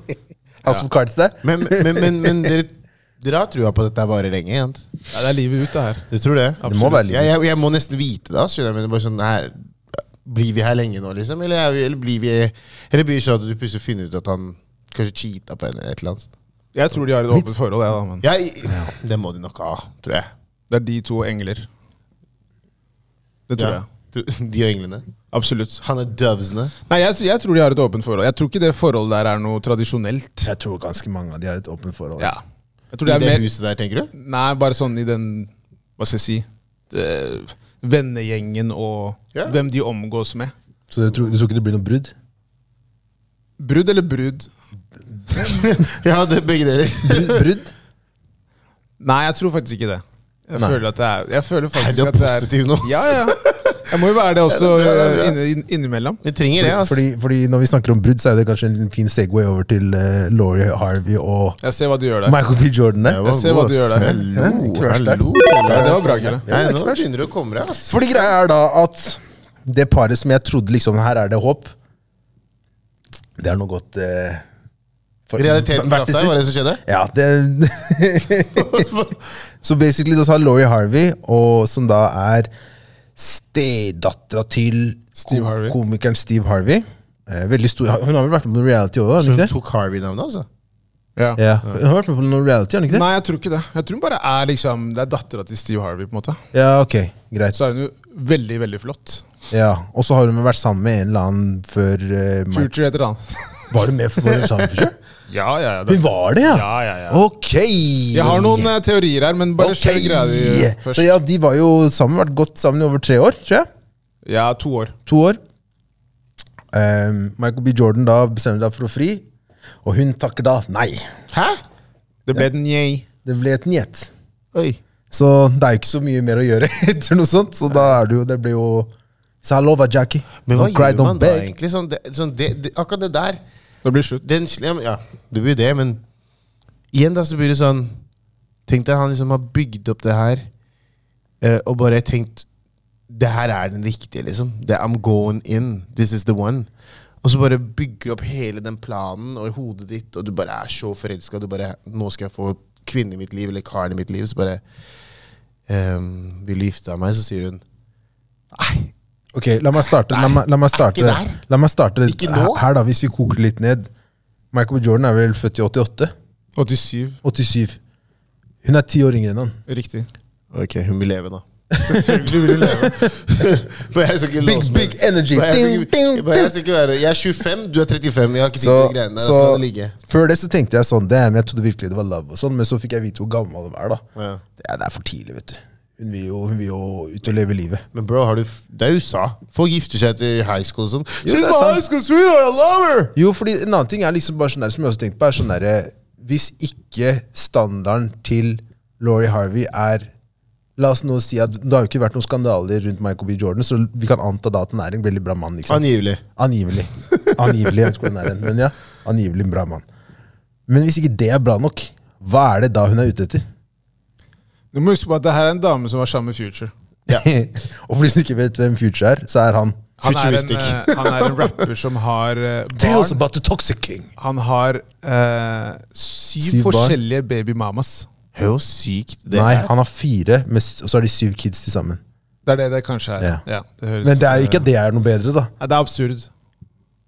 S2: House of Cards der.
S1: Men, men, men, men dere, dere har trua på at dette varer lenge? Igjen.
S3: Ja, det er livet ut, det her.
S1: Du tror det?
S2: Det må være litt-
S1: Jeg, jeg, jeg må nesten vite det. ass, skjønner jeg, men det er bare sånn, her, Blir vi her lenge nå, liksom? Eller, er vi, eller blir vi Eller blir det sånn at du plutselig finner ut at han kanskje cheata på henne? eller et eller annet?
S3: Jeg tror de har et åpent forhold, jeg, da. Men
S1: Jeg, det må de nok ha, tror jeg.
S3: det er de to engler. Det tror
S1: Ja.
S3: jeg.
S1: Du- De og englene.
S3: Absolutt.
S1: Han er dovesene.
S3: Nei, jeg, jeg tror de har et åpent forhold. Jeg tror ikke det forholdet der er noe tradisjonelt.
S2: Jeg tror ganske mange av de har et åpent forhold.
S3: Ja. Jeg tror
S1: I
S3: det
S1: det
S3: er mer
S1: huset der, tenker du?
S3: Nei, bare sånn i den Hva skal jeg si det, Vennegjengen og
S1: Ja.
S3: hvem de omgås med.
S2: Så du tror, du tror ikke det blir noe brudd?
S3: Brudd eller brud?
S1: Ja, det er begge deler.
S2: Brudd? brudd?
S3: Nei, jeg tror faktisk ikke det. Jeg
S2: Nei.
S3: føler at det er Jeg føler
S1: Nei,
S3: faktisk
S1: du er
S3: at det er
S1: positiv nå.
S3: Ja, ja. Jeg må jo være det også
S1: Ja, det er bra, det er bra.
S3: inni- inn- innimellom.
S1: Vi trenger det, ass.
S2: Fordi, fordi når vi snakker om brudd, så er det kanskje en fin segway over til eh, Laurie Harvey og
S3: Jeg ser hva du gjør der.
S2: Michael B. Jordan der.
S1: var
S3: Jeg ser hva
S1: god,
S3: du gjør
S1: ass.
S3: der.
S1: Hallo,
S2: Ikke verst der.
S1: hallo.
S3: Ja, det var bra, Kjelle.
S1: Nei, nå begynner du å komme deg, ass.
S2: Fordi greia er da at det paret som jeg trodde liksom Her er det håp. Det er noe godt eh, for-
S1: Realiteten
S2: hvert til
S1: traff deg,
S2: sitt.
S1: var det som skjedde?
S2: Ja, det Så basically da så har Laurie Harvey, og, som da er stedattera til
S3: Steve Harvey.
S2: komikeren Steve Harvey. Eh, veldig stor Hun har vel vært med på noe reality òg?
S1: Så
S2: Hun,
S1: hun
S2: ikke det?
S1: tok Harvey-navnet, altså?
S3: Ja.
S2: ja. hun har vært med på noe reality, har hun ikke det?
S3: Nei, jeg tror ikke det. Jeg tror hun bare er liksom Det er dattera til Steve Harvey, på en måte.
S2: Ja, ok, greit.
S3: Så er hun jo veldig, veldig flott.
S2: Ja, Og så har hun vært sammen med en eller annen før eh, Mike-
S3: Future heter han.
S2: Var hun med for, var hun sammen for sure?
S3: Ja, ja, ja.
S2: Hun var det, ja?
S3: Ja, ja, ja.
S2: Ok!
S3: Jeg har noen eh, teorier her, men bare
S2: Ok.
S3: okay. greia di eh,
S2: Så
S3: først.
S2: ja, de var jo sammen, vært godt sammen i over tre år, tror jeg.
S3: Ja, to år.
S2: To år. Ehm, Michael B. Jordan da bestemmer seg for å fri, og hun takker da nei.
S1: Hæ?
S3: Det ble den yay.
S2: Det ble et njet.
S1: Oi.
S2: Så det er jo ikke så mye mer å gjøre etter noe sånt. Så da er det jo Det blir jo Så I love you, Jackie.
S1: Men hva
S2: Don't cry,
S1: gjør man
S2: don't
S1: da,
S2: beg.
S1: egentlig? Sånn, det, sånn det, det, akkurat det der
S3: Det blir slutt.
S1: den, sl- ja, men- Ja, det blir jo det, men igjen da så blir det sånn Tenk deg han liksom har bygd opp det her, eh, og bare tenkt Det her er den riktige, liksom. Det, I'm going in. This is the one. Og så bare bygger du opp hele den planen og i hodet ditt, og du bare er så forelska. Du bare 'Nå skal jeg få kvinnen i mitt liv, eller karen i mitt liv.' Så bare ehm, 'Vil du gifte deg med meg?' Så sier hun Nei.
S2: Ok, la meg starte. La meg, la meg starte,
S1: Ikke der.
S2: la meg starte
S1: Ikke nå.
S2: her, da, hvis vi koker det litt ned. Michael B. Jordan er vel født i 88?
S3: 87.
S2: 87. Hun er ti år yngre enn han.
S3: Riktig.
S1: Ok, hun vil leve, da. Selvfølgelig vil hun leve. Men jeg skal ikke
S2: Big,
S1: låse meg.
S2: big energy.
S1: Men jeg skal
S2: Ding,
S1: ikke-
S2: ding,
S1: men jeg skal ikke være Jeg er 25, du er 35. Jeg har ikke tid til
S2: Så,
S1: de greiene der. Så,
S2: så
S1: det ligge.
S2: før det så tenkte jeg sånn, damn, jeg trodde virkelig det var love og sånn, men så fikk jeg vite hvor gammel de er da.
S1: Ja.
S2: Det er, det er for tidlig, vet du. Hun vil jo, hun vil jo ut og leve livet.
S1: Men bro, har du f- det er USA. Folk gifter seg etter high school og sånn.
S2: det
S1: She's
S2: er
S1: my
S2: sant.
S1: high school sweetheart, I love her!
S2: Jo, fordi en annen ting er liksom bare sånn der, som jeg også tenkte på, er sånn der, hvis ikke standarden til Laurie Harvey er La oss nå si at Det har jo ikke vært noen skandaler rundt Michael B. Jordan, så vi kan anta da at han er en veldig bra mann. ikke sant?
S1: Angivelig.
S2: Angivelig. Angivelig, jeg vet ikke hvor den er hen, men ja, angivelig en bra mann. Men hvis ikke det er bra nok, hva er det da hun er ute etter?
S3: Du må huske på at det her er en dame som var sammen med Future.
S2: og for de som ikke vet hvem Future er, så er han
S3: Han er en,
S1: Futuristic.
S3: eh, han er en rapper som har eh,
S2: Tales
S3: barn.
S2: about the Toxic King.
S3: Han har eh, syv,
S2: Syv barn.
S3: forskjellige babymamas.
S1: Det er jo sykt, det.
S2: Nei,
S1: her.
S2: han har fire, men s- og så har de syv kids til sammen.
S3: Det er det det kanskje er.
S2: Ja.
S3: Ja, det høres,
S2: Men det er jo
S3: eh,
S2: ikke at det er noe bedre, da.
S3: Nei, det er absurd.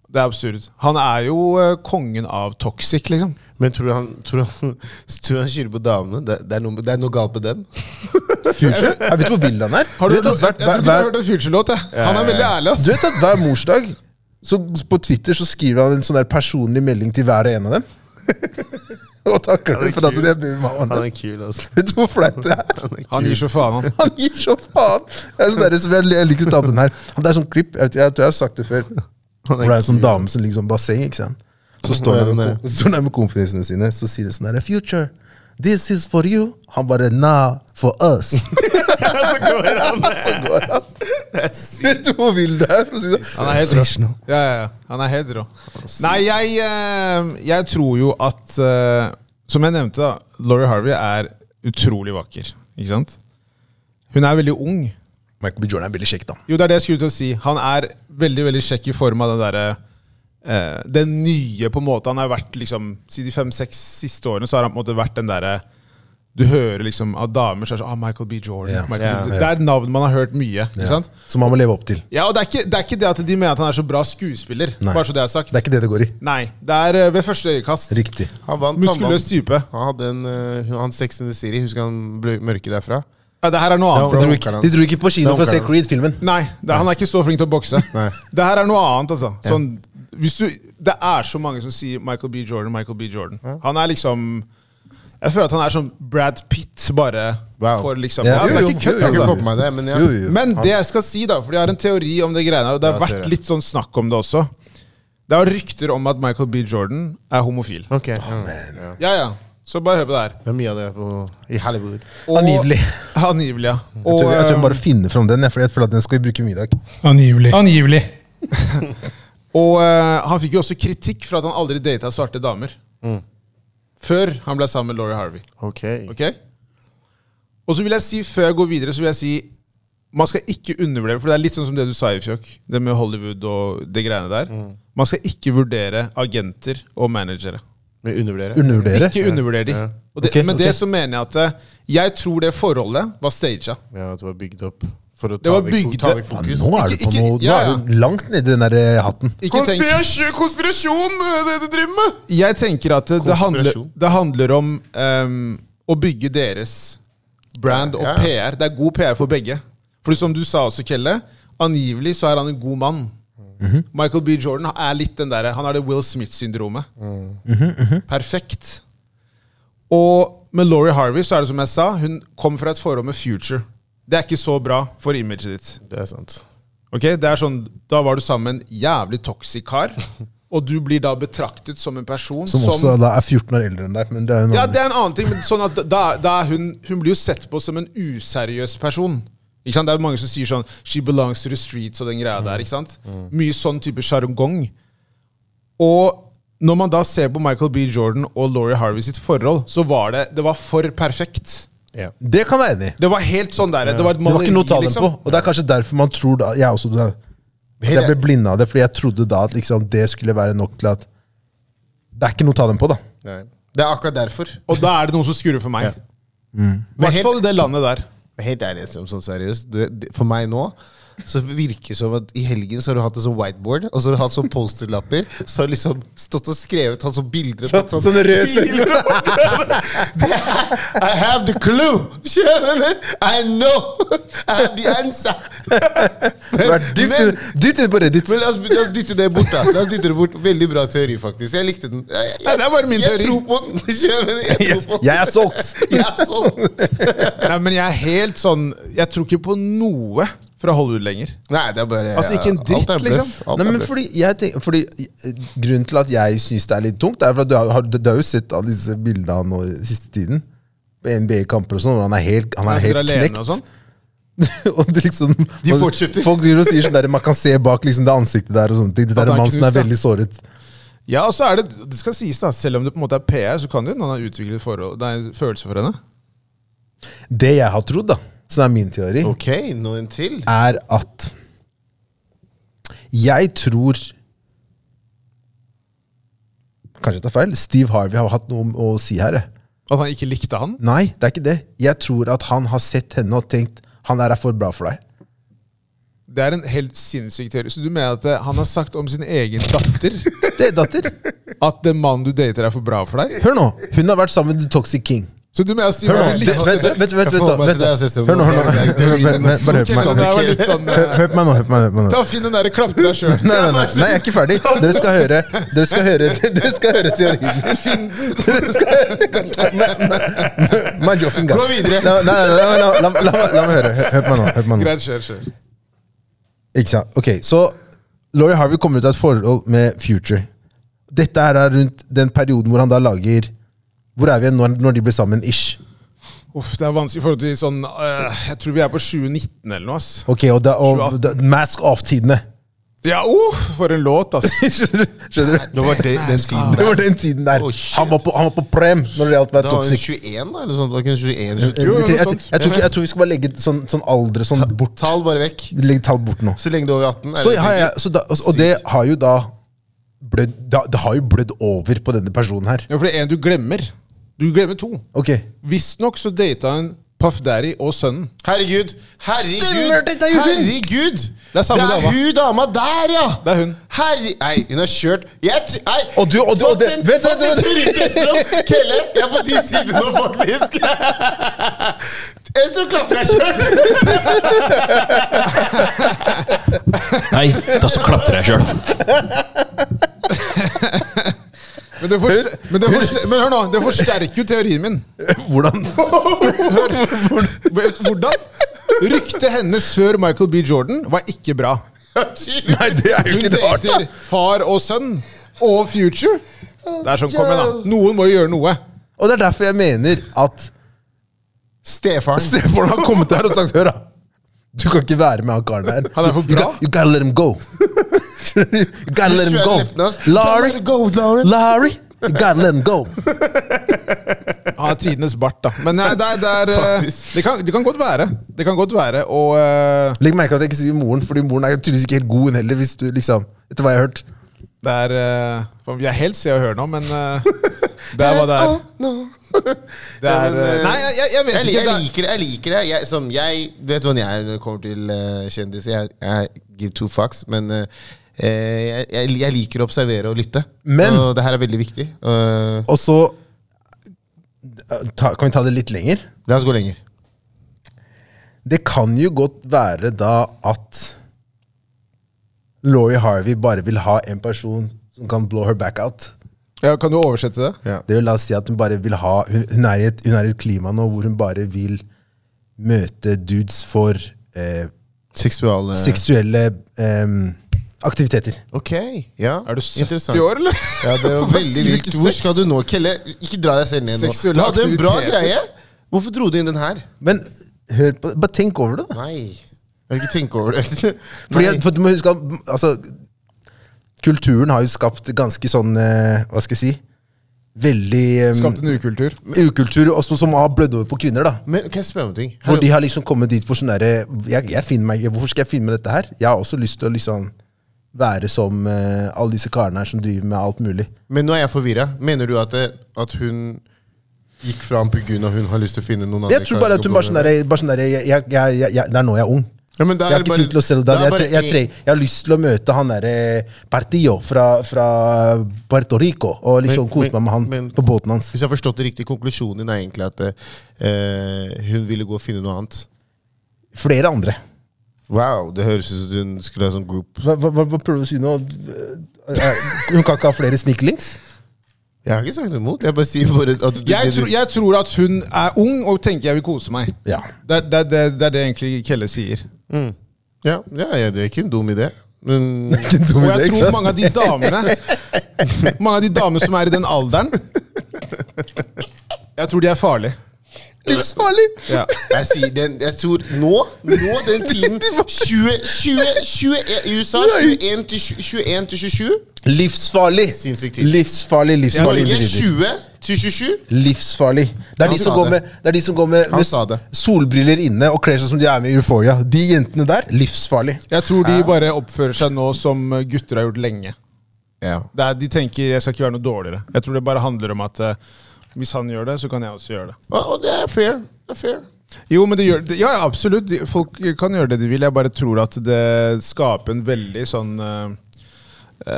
S3: Det er absurd. Han er jo eh, kongen av toxic, liksom.
S1: Men tror du han, tror du han, tror du han skyller på damene? Det, det, er noe, det er noe galt med dem.
S2: Future? Jeg vet hvor vill han er.
S3: Har du,
S2: Du vet at
S3: jeg,
S2: hvert-
S3: jeg tror ikke du
S2: hver-
S3: har hørt en Future-låt. jeg. Han er veldig ærlig, ass.
S2: Du vet at hver morsdag så på Twitter så skriver han en sånn der personlig melding til hver og en av dem. og takker dem for at de er
S1: Han
S2: babymammaene.
S1: er kul, altså.
S2: Vet du hvor flaut det er?
S3: Han gir så faen, han.
S2: Han gir så faen! Det er sånn der, som jeg, jeg liker å ta den her. Det er sånn klipp, jeg, vet, jeg tror jeg har sagt det før. Hvor det er en sånn dame som ligger sånn basseng, ikke sant. Så står
S1: Ja,
S2: hun
S1: den
S2: der
S1: der.
S2: så står hun der med kompisene sine, så sier hun sånn her Future, this is for you. Han bare nah, for us.
S1: Så går han.
S2: så går han. Vet du hvor vill det er? for å si det? sånn?
S3: Han er helt rå.
S2: Sensational.
S3: Ja, ja, ja. Han er helt rå. Nei, jeg, eh, jeg tror jo at eh, Som jeg nevnte, da, Laurie Harvey er utrolig vakker. Ikke sant? Hun er veldig ung.
S2: Michael B. Jordan er veldig kjekk, da.
S3: Jo, det er det jeg skulle til å si. Han er veldig veldig kjekk i form av den derre eh, Den nye, på en måte. Han har vært liksom Si de fem-seks siste årene, så har han på en måte vært den derre Du hører liksom av damer så er det sånn ah, Michael B. Jordan.
S2: Ja.
S3: Michael
S1: Ja.
S3: B. Jordan. Det er et navn man har hørt mye. ikke sant?
S2: Som man må leve opp til.
S3: Ja, og det er, ikke, det er ikke det at de mener at han er så bra skuespiller.
S2: Nei.
S3: Bare så det er sagt.
S2: Det er ikke det det går i.
S3: Nei, det er eh, ved første øyekast.
S2: Riktig.
S1: Han vant
S3: Muskuløs
S1: Tannmann.
S3: type.
S1: Han hadde en eh, Han Sex in the City. Husker han ble mørke derfra?
S3: Ja, det her er noe
S1: Det var
S3: annet. bro.
S1: bra.
S2: De dro ikke, de dro ikke på kino for å se Creed-filmen.
S3: Nei, det, han er ikke så flink til å bokse.
S1: Nei.
S3: Det her er noe annet, altså. Sånn, hvis du, det er så mange som sier Michael B. Jordan, Michael B. Jordan. Han er liksom Jeg føler at han er som Brad Pitt, bare
S1: Wow.
S3: for liksom
S2: Ja,
S3: ja,
S2: jo,
S3: Det er
S2: jo,
S3: ikke
S2: jo,
S3: kødd,
S1: Jeg har ikke
S2: altså.
S1: fått med meg det, men ja.
S2: Jo, jo, jo.
S3: Men det jeg skal si, da, for jeg har en teori om det greiene her, og det har
S1: Ja, ser
S3: vært
S1: jeg.
S3: litt sånn snakk om det også. Det er rykter om at Michael B. Jordan er homofil.
S1: Ok, ja. Ja.
S3: Ja, ja. Så bare hør på det her.
S1: Det er mye av det på, i Hollywood.
S3: Og-
S2: Angivelig.
S3: Angivelig, ja.
S2: Jeg tror, jeg tror jeg
S3: eh,
S2: bare finner fram den, jeg, for jeg føler at den skal vi bruke mye i dag.
S3: Angivelig. og eh, han fikk jo også kritikk for at han aldri data svarte damer.
S2: Mm.
S3: Før han ble sammen med Laurie Harvey.
S1: Ok.
S3: Ok? Og så vil jeg si, før jeg går videre, så vil jeg si man skal ikke undervurdere, for det er litt sånn som det du sa i fjokk, det med Hollywood og det greiene der.
S2: Mm.
S3: Man skal ikke vurdere agenter og managere.
S1: Men undervurdere.
S2: Undervurdere.
S3: Ikke undervurdere de. Og det,
S2: Ok,
S3: med
S2: ok.
S3: det så mener jeg at eh, jeg tror det forholdet var staged.
S1: Ja, at det var bygd opp for å
S3: Det
S1: ta
S3: var
S1: vekk fo-
S3: bygd
S1: ta
S3: opp.
S1: vekk
S2: Ja,
S1: fokus.
S2: nå er du
S3: Ikke-
S2: på
S3: ikke-
S2: noe Nå
S3: ja,
S2: er
S3: ja.
S2: du langt nedi den der eh, hatten.
S3: Ikke tenk
S1: konspirasjon, det du driver med!
S3: jeg tenker at det, det, handler,
S1: Konspirasjon.
S3: det handler om ehm, å bygge deres brand og
S1: Ja, ja.
S3: PR. Det er god PR for begge. For som du sa også, Kelle, angivelig så er han en god mann. Michael B. Jordan er litt den der, han har det Will Smith-syndromet.
S1: Mm.
S3: Perfekt. Og med Laurie Harvey så er det som jeg sa, hun kom fra et forhold med Future. Det er ikke så bra for imaget ditt.
S1: Det er sant.
S3: Ok, det er sånn, Da var du sammen med en jævlig toxic kar, og du blir da betraktet som en person
S2: Som også da er 14 år eldre enn deg. Men det er jo en
S3: ja,
S2: annen-
S3: det er en annen ting. Men sånn at da, da er hun, hun blir jo sett på som en useriøs person. Ikke sant? Det er jo mange som sier sånn 'She belongs to the streets' og den greia
S2: Mm.
S3: der. ikke sant? Mye sånn type sjargong. Og når man da ser på Michael B. Jordan og Laurie Harvey sitt forhold, så var det det var for perfekt.
S1: Ja.
S2: det kan være enig i.
S3: Det var helt sånn der, det var et
S2: Det var
S3: maleri,
S2: ikke noe å ta den
S3: liksom.
S2: på. Og det er kanskje derfor man tror da Jeg også da, at jeg ble blinda av det, fordi jeg trodde da at liksom det skulle være nok til at Det er ikke noe å ta den på, da.
S1: Nei. Det er akkurat derfor.
S3: Og da er det noe som skurrer for meg.
S1: Ja.
S2: Mm.
S3: I hvert fall i det landet der.
S1: Helt ærlig, som sånn seriøst. Du, det- for meg nå så virker det som at i helgen så har du hatt en sånn whiteboard, og så har du hatt sånn Post-It-lapper. Så har du liksom stått og skrevet tatt sånn bilder og tatt sånn,
S2: sånne røde
S1: piler opp på greiene. Det er- I have the clue! Skjønner du? I know! I have the answer!
S2: Du er dypt
S1: Men-
S2: inn- dypt inne på Reddit.
S1: Men la oss, la oss dytte det bort, da. La oss dytte det bort. Veldig bra teori, faktisk. Jeg likte den. Jeg, jeg,
S3: Nei, det er bare min teori.
S1: Jeg tror på den. Skjønner du? Jeg tror på
S2: Jeg er solgt!
S1: den. Jeg er solgt.
S3: Nei, men jeg er helt sånn Jeg tror ikke på noe fra Hollywood lenger.
S1: Nei, det er bare
S3: Altså, ikke en dritt,
S1: alt er bløff.
S3: liksom.
S1: Alt
S2: Nei,
S1: er
S2: men
S1: bløff.
S2: fordi, jeg tenker, fordi eh, Grunnen til at jeg syns det er litt tungt, er for at du har, har- du har jo sett alle disse bildene nå i siste tiden. på NBA-kamper og sånn, hvor han er helt, han
S3: Han
S2: er
S3: sitter
S2: helt
S3: alene
S2: knekt.
S3: og sånn.
S2: og det liksom,
S1: De
S2: man-
S1: fortsetter.
S2: Folk driver og sier sånn der, man kan se bak liksom, det ansiktet der og sånne ting. Det
S3: At
S2: der
S3: han er
S2: mannen som er
S3: knust, da.
S2: veldig såret.
S3: Ja, og så er det, det skal sies da, selv om det på en måte er PR, så kan det jo hende han har utviklet forhold, nei, følelser for henne.
S2: Det jeg har trodd, da, som er min teori,
S1: Ok, noen til?
S2: er at Jeg tror Kanskje jeg tar feil. Steve Harvey har hatt noe å si her. jeg.
S3: At han ikke likte han.
S2: Nei, det er ikke det. Jeg tror at han har sett henne og tenkt han der er for bra for deg.
S3: Det er en helt sinnssyk teori. Så du mener at eh, han har sagt om sin egen datter
S2: Stedatter.
S3: at den mannen du dater, er for bra for deg?
S2: Hør nå. Hun har vært sammen med The Toxic King.
S3: Så du mener at Steve
S2: Hør nå. Vent,
S3: Harvey likte
S2: vent, vent, vent, vent,
S1: Jeg får
S2: da,
S1: meg
S2: vent,
S1: til det
S2: da.
S1: her siste,
S2: Hør nå, hør nå.
S1: men-
S2: Vent, vent, vent, Bare hør
S3: Ok,
S2: på meg.
S3: det der var litt sånn
S2: Hør,
S3: eh,
S2: hør på meg nå. hør på meg, hør på meg nå.
S3: Ta og Finn den derre klapper deg sjøl.
S2: Nei, nei, nei, nei, jeg er ikke ferdig. Dere skal høre Dere skal høre, dere skal høre teorien. Dere skal høre Men- men- men joffen, guys.
S1: Gå videre.
S2: Nei, nei, nei, la, la, la, la, meg- la meg høre. Hør på meg nå. Hør på meg nå.
S3: Greit, kjør, kjør.
S2: Ikke sant? Ok, så Laurie Harvey kommer ut av et forhold med Future. Dette her er rundt den perioden hvor han da lager Hvor er vi igjen når, når de blir sammen? ish?
S3: Uff, det er vanskelig i forhold til sånn eh, Jeg tror vi er på 2019 eller noe, ass.
S2: Ok, og, da, og da, Mask off-tidene.
S3: Ja, uff, for en låt, ass.
S2: Skjønner du? Skjønner du?
S1: Det var det, den tiden
S2: Det
S1: der.
S2: var den tiden der.
S1: Oh, shit.
S2: Han var på, han var på prem når det gjaldt å være
S1: Da var hun
S2: toxic.
S1: 21, da? Eller sånn? sånt. Da kunne
S2: Jeg,
S1: 21, 22.
S3: Jo, jo,
S2: jeg,
S3: noe
S2: jeg,
S3: sånt.
S2: jeg, tror ikke- jeg tror vi skal bare legge sånn, sånn alder sånn bort.
S1: Tall bare vekk.
S2: Legg tall bort nå.
S1: Så lenge du er over 18. er
S2: Så
S1: det-
S2: har jeg, så da, og, og det har jo da blødd da, Det har jo blødd over på denne personen her.
S3: Ja, for det er en du glemmer. Du glemmer to.
S2: Ok.
S3: Visstnok så data han Puff Daddy og sønnen.
S1: Herregud!
S2: Stemmer,
S1: Herregud!
S2: dette er jo hun!
S1: Herregud!
S3: Det er samme dama.
S1: hun dama der, ja!
S3: Det er hun.
S1: Herre... Nei, hun har kjørt Jeg t- Nei!
S2: Og du- og du- og det-
S1: Fått en-
S2: vent,
S1: fått
S2: vent,
S1: en
S2: vent.
S1: turist ekstra opp. Kelle, jeg er på din side nå, faktisk! Estro klapper deg sjøl!
S4: Nei, da så klapper jeg sjøl.
S3: Men, det forster- men, det forster- men hør nå, det forsterker jo teorien min.
S2: Hvordan
S3: Hør. Hvordan? Ryktet hennes før Michael B. Jordan var ikke bra.
S2: Nei, det er jo
S3: Hun
S2: ikke rart, da!
S3: dater far og sønn og future. Det er sånn, kom igjen, da. Noen må jo gjøre noe.
S2: Og det er derfor jeg mener at
S1: Stefaren.
S2: Stefan har kommet her og sagt Hør, da! Du kan ikke være med han karen her.
S3: Han er for
S2: You,
S3: bra.
S2: got- you gotta let him go. you gotta let him go. Larry, Larry, you gotta let him go.
S3: Han er tidenes bart, da. Men nei, det, er, det, er, eh, det, kan, det kan godt være. Det kan godt være, og eh,
S2: Legg merke til at jeg ikke sier moren, fordi moren er tydeligvis ikke helt god hun heller. Hvis du liksom, etter hva jeg har hørt
S3: Det er eh, for Jeg helst ser og hører nå, men eh, det er hva det er. Det
S1: Ja,
S3: er
S1: men,
S3: eh,
S1: eh,
S3: Nei, jeg, jeg- jeg vet
S1: Jeg,
S3: ikke.
S1: jeg
S3: Det er-
S1: liker det. jeg liker det jeg, som jeg, Vet du hvordan jeg er når det kommer til eh, kjendiser? Jeg, jeg give two fucks, men eh, jeg, jeg, jeg liker å observere og lytte.
S2: Men-
S1: og det her er veldig viktig. Eh,
S2: Og så eh, ta, Kan vi ta det litt lenger?
S1: la oss gå lenger.
S2: Det kan jo godt være da at Laurie Harvey bare vil ha en person som kan blow her back out.
S3: Ja, kan du oversette det?
S2: Det vil la oss si at hun bare vil ha Hun, hun, er, i et, hun er i et klima nå hvor hun bare vil møte dudes for eh,
S1: Seksual eh,
S2: seksuelle em, aktiviteter.
S1: Ok, ja.
S3: Er du 70
S1: Interessant.
S3: år, eller?
S1: Ja, det var
S3: Hva
S1: veldig
S3: sier
S1: vilt.
S3: du til
S1: Hvor
S3: sex?
S1: skal du nå, Kelle? Ikke dra deg selv ned nå.
S3: Seksuelle
S1: Du hadde en bra
S3: aktiviteter.
S1: greie. Hvorfor dro du inn den her?
S2: Men hør på, bare tenk over det, da.
S1: Nei. Jeg vil ikke tenke over det.
S2: Fordi,
S1: Nei.
S2: at- for du må huske at altså, Kulturen har jo skapt ganske sånn eh, Hva skal jeg si? Veldig eh,
S3: Skapt en ukultur.
S2: ukultur også, som har blødd over på kvinner. da
S1: Men kan jeg spørre om en ting?
S2: Hvor de har liksom kommet dit for sånn derre jeg, jeg finner meg, Hvorfor skal jeg finne meg dette her? Jeg har også lyst til å liksom være som eh, alle disse karene her som driver med alt mulig.
S1: Men nå er jeg forvirra. Mener du at, det, at hun gikk fra ham pga. hun har lyst til å finne noen andre?
S2: Jeg tror bare at hun bare sånn der, bare sånn der jeg, jeg, jeg, jeg, jeg, Det er nå jeg er ung.
S1: Ja, men det
S2: jeg har
S1: er
S2: ikke
S1: bare-
S2: tid til å selge
S1: det
S2: den.
S1: er
S2: Jeg,
S1: bare
S2: tre- jeg, tre- jeg har lyst til å møte han derre Partillo fra, fra Puerto Rico og liksom
S1: Men-
S2: kose meg
S1: men-
S2: med han
S1: men-
S2: på båten hans.
S1: Hvis jeg har forstått det riktig, konklusjonen din er egentlig at eh, hun ville gå og finne noe annet.
S2: Flere andre.
S1: Wow, det høres ut som hun skulle ha sånn group.
S2: Hva, hva, hva hva prøver du å si nå? Eh, Hun kan ikke ha flere sniklinks?
S1: Jeg har ikke sagt noe imot. Jeg bare sier bare at du,
S3: Jeg, tror- jeg tror at hun er ung og tenker jeg vil kose meg.
S2: Ja.
S3: Det er det, er- det, er- det, er det egentlig Kelle sier.
S1: ja, ja, ja, det er ikke en dum idé. Men
S2: Ikke dum
S3: Og
S2: idé,
S3: jeg
S2: ikke
S3: tror
S2: sant?
S3: mange av de damene Mange av de damene som er i den alderen Jeg tror de er farlige.
S2: Livsfarlig!
S3: Ja.
S1: Jeg, sier, den, jeg tror nå, nå den tiden 20, 20, 21, I USA 21 til 20 21 til 27.
S2: Livsfarlig!
S1: Sinnssykt tid.
S2: Livsfarlig, livsfarlig
S1: Norge
S2: individer.
S1: 20 til 27.
S2: Livsfarlig. Det er,
S1: Han
S2: de som
S1: sa
S2: går
S1: det.
S2: med, det er de som går med,
S1: Han
S2: med
S1: sa det.
S2: solbriller inne og kler seg som de er med i Euphoria. De jentene der, livsfarlig.
S3: Jeg tror de bare oppfører seg nå som gutter har gjort lenge.
S1: Ja.
S3: Det er, de tenker jeg skal ikke være noe dårligere. Jeg tror det bare handler om at eh, hvis han gjør det, så kan jeg også gjøre det.
S1: Og, og det er fair. Det er fair.
S3: Jo, men det gjør det, Ja, ja, absolutt. De- Folk kan gjøre det de vil. Jeg bare tror at det skaper en veldig sånn eh,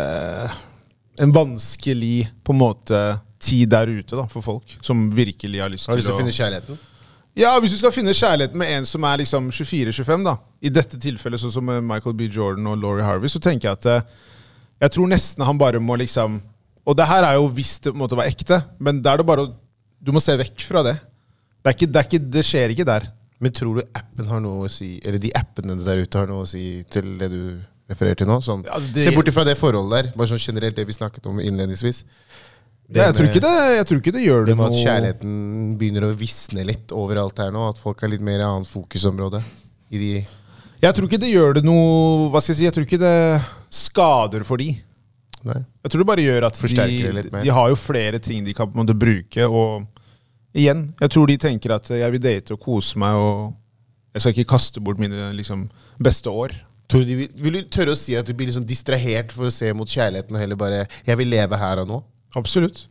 S3: eh, En vanskelig på en måte tid der ute da, for folk som virkelig har lyst
S1: Har du lyst
S3: til
S1: til å finne kjærligheten?
S3: Ja, hvis du skal finne kjærligheten med en som er liksom 24-25, da. I dette tilfellet sånn som eh, Michael B. Jordan og Laurie Harvey, så tenker jeg at eh, Jeg tror nesten han bare må liksom Og det her er jo hvis det måtte være ekte, men da er det bare å Du må se vekk fra det. Det, er ikke, det, er ikke, det skjer ikke der.
S1: Men tror du appen har noe å si Eller de appene der ute har noe å si til det du refererer til nå? Sånn.
S3: Ja, det-
S1: Se bort ifra det forholdet der, bare sånn generelt det vi snakket om innledningsvis.
S3: Det, jeg, tror
S1: med-
S3: ikke det, jeg tror ikke det gjør
S1: Det
S3: det
S1: med at
S3: noe
S1: kjærligheten begynner å visne litt overalt her nå. At folk har litt mer annet fokusområde. I de
S3: Jeg tror ikke det gjør det noe Hva skal jeg si? Jeg tror ikke det skader for de.
S1: Nei.
S3: Jeg tror det bare gjør at
S1: Forsterker
S3: de,
S1: det litt mer.
S3: de har jo flere ting de kan på en måte bruke. Og igjen, jeg tror de tenker at jeg vil date og kose meg, og jeg skal ikke kaste bort mine liksom, beste år.
S1: Tror du de vil, vil du tørre å si at de blir liksom distrahert for å se mot kjærligheten, og heller bare 'Jeg vil leve her og nå'?
S3: Absolutt.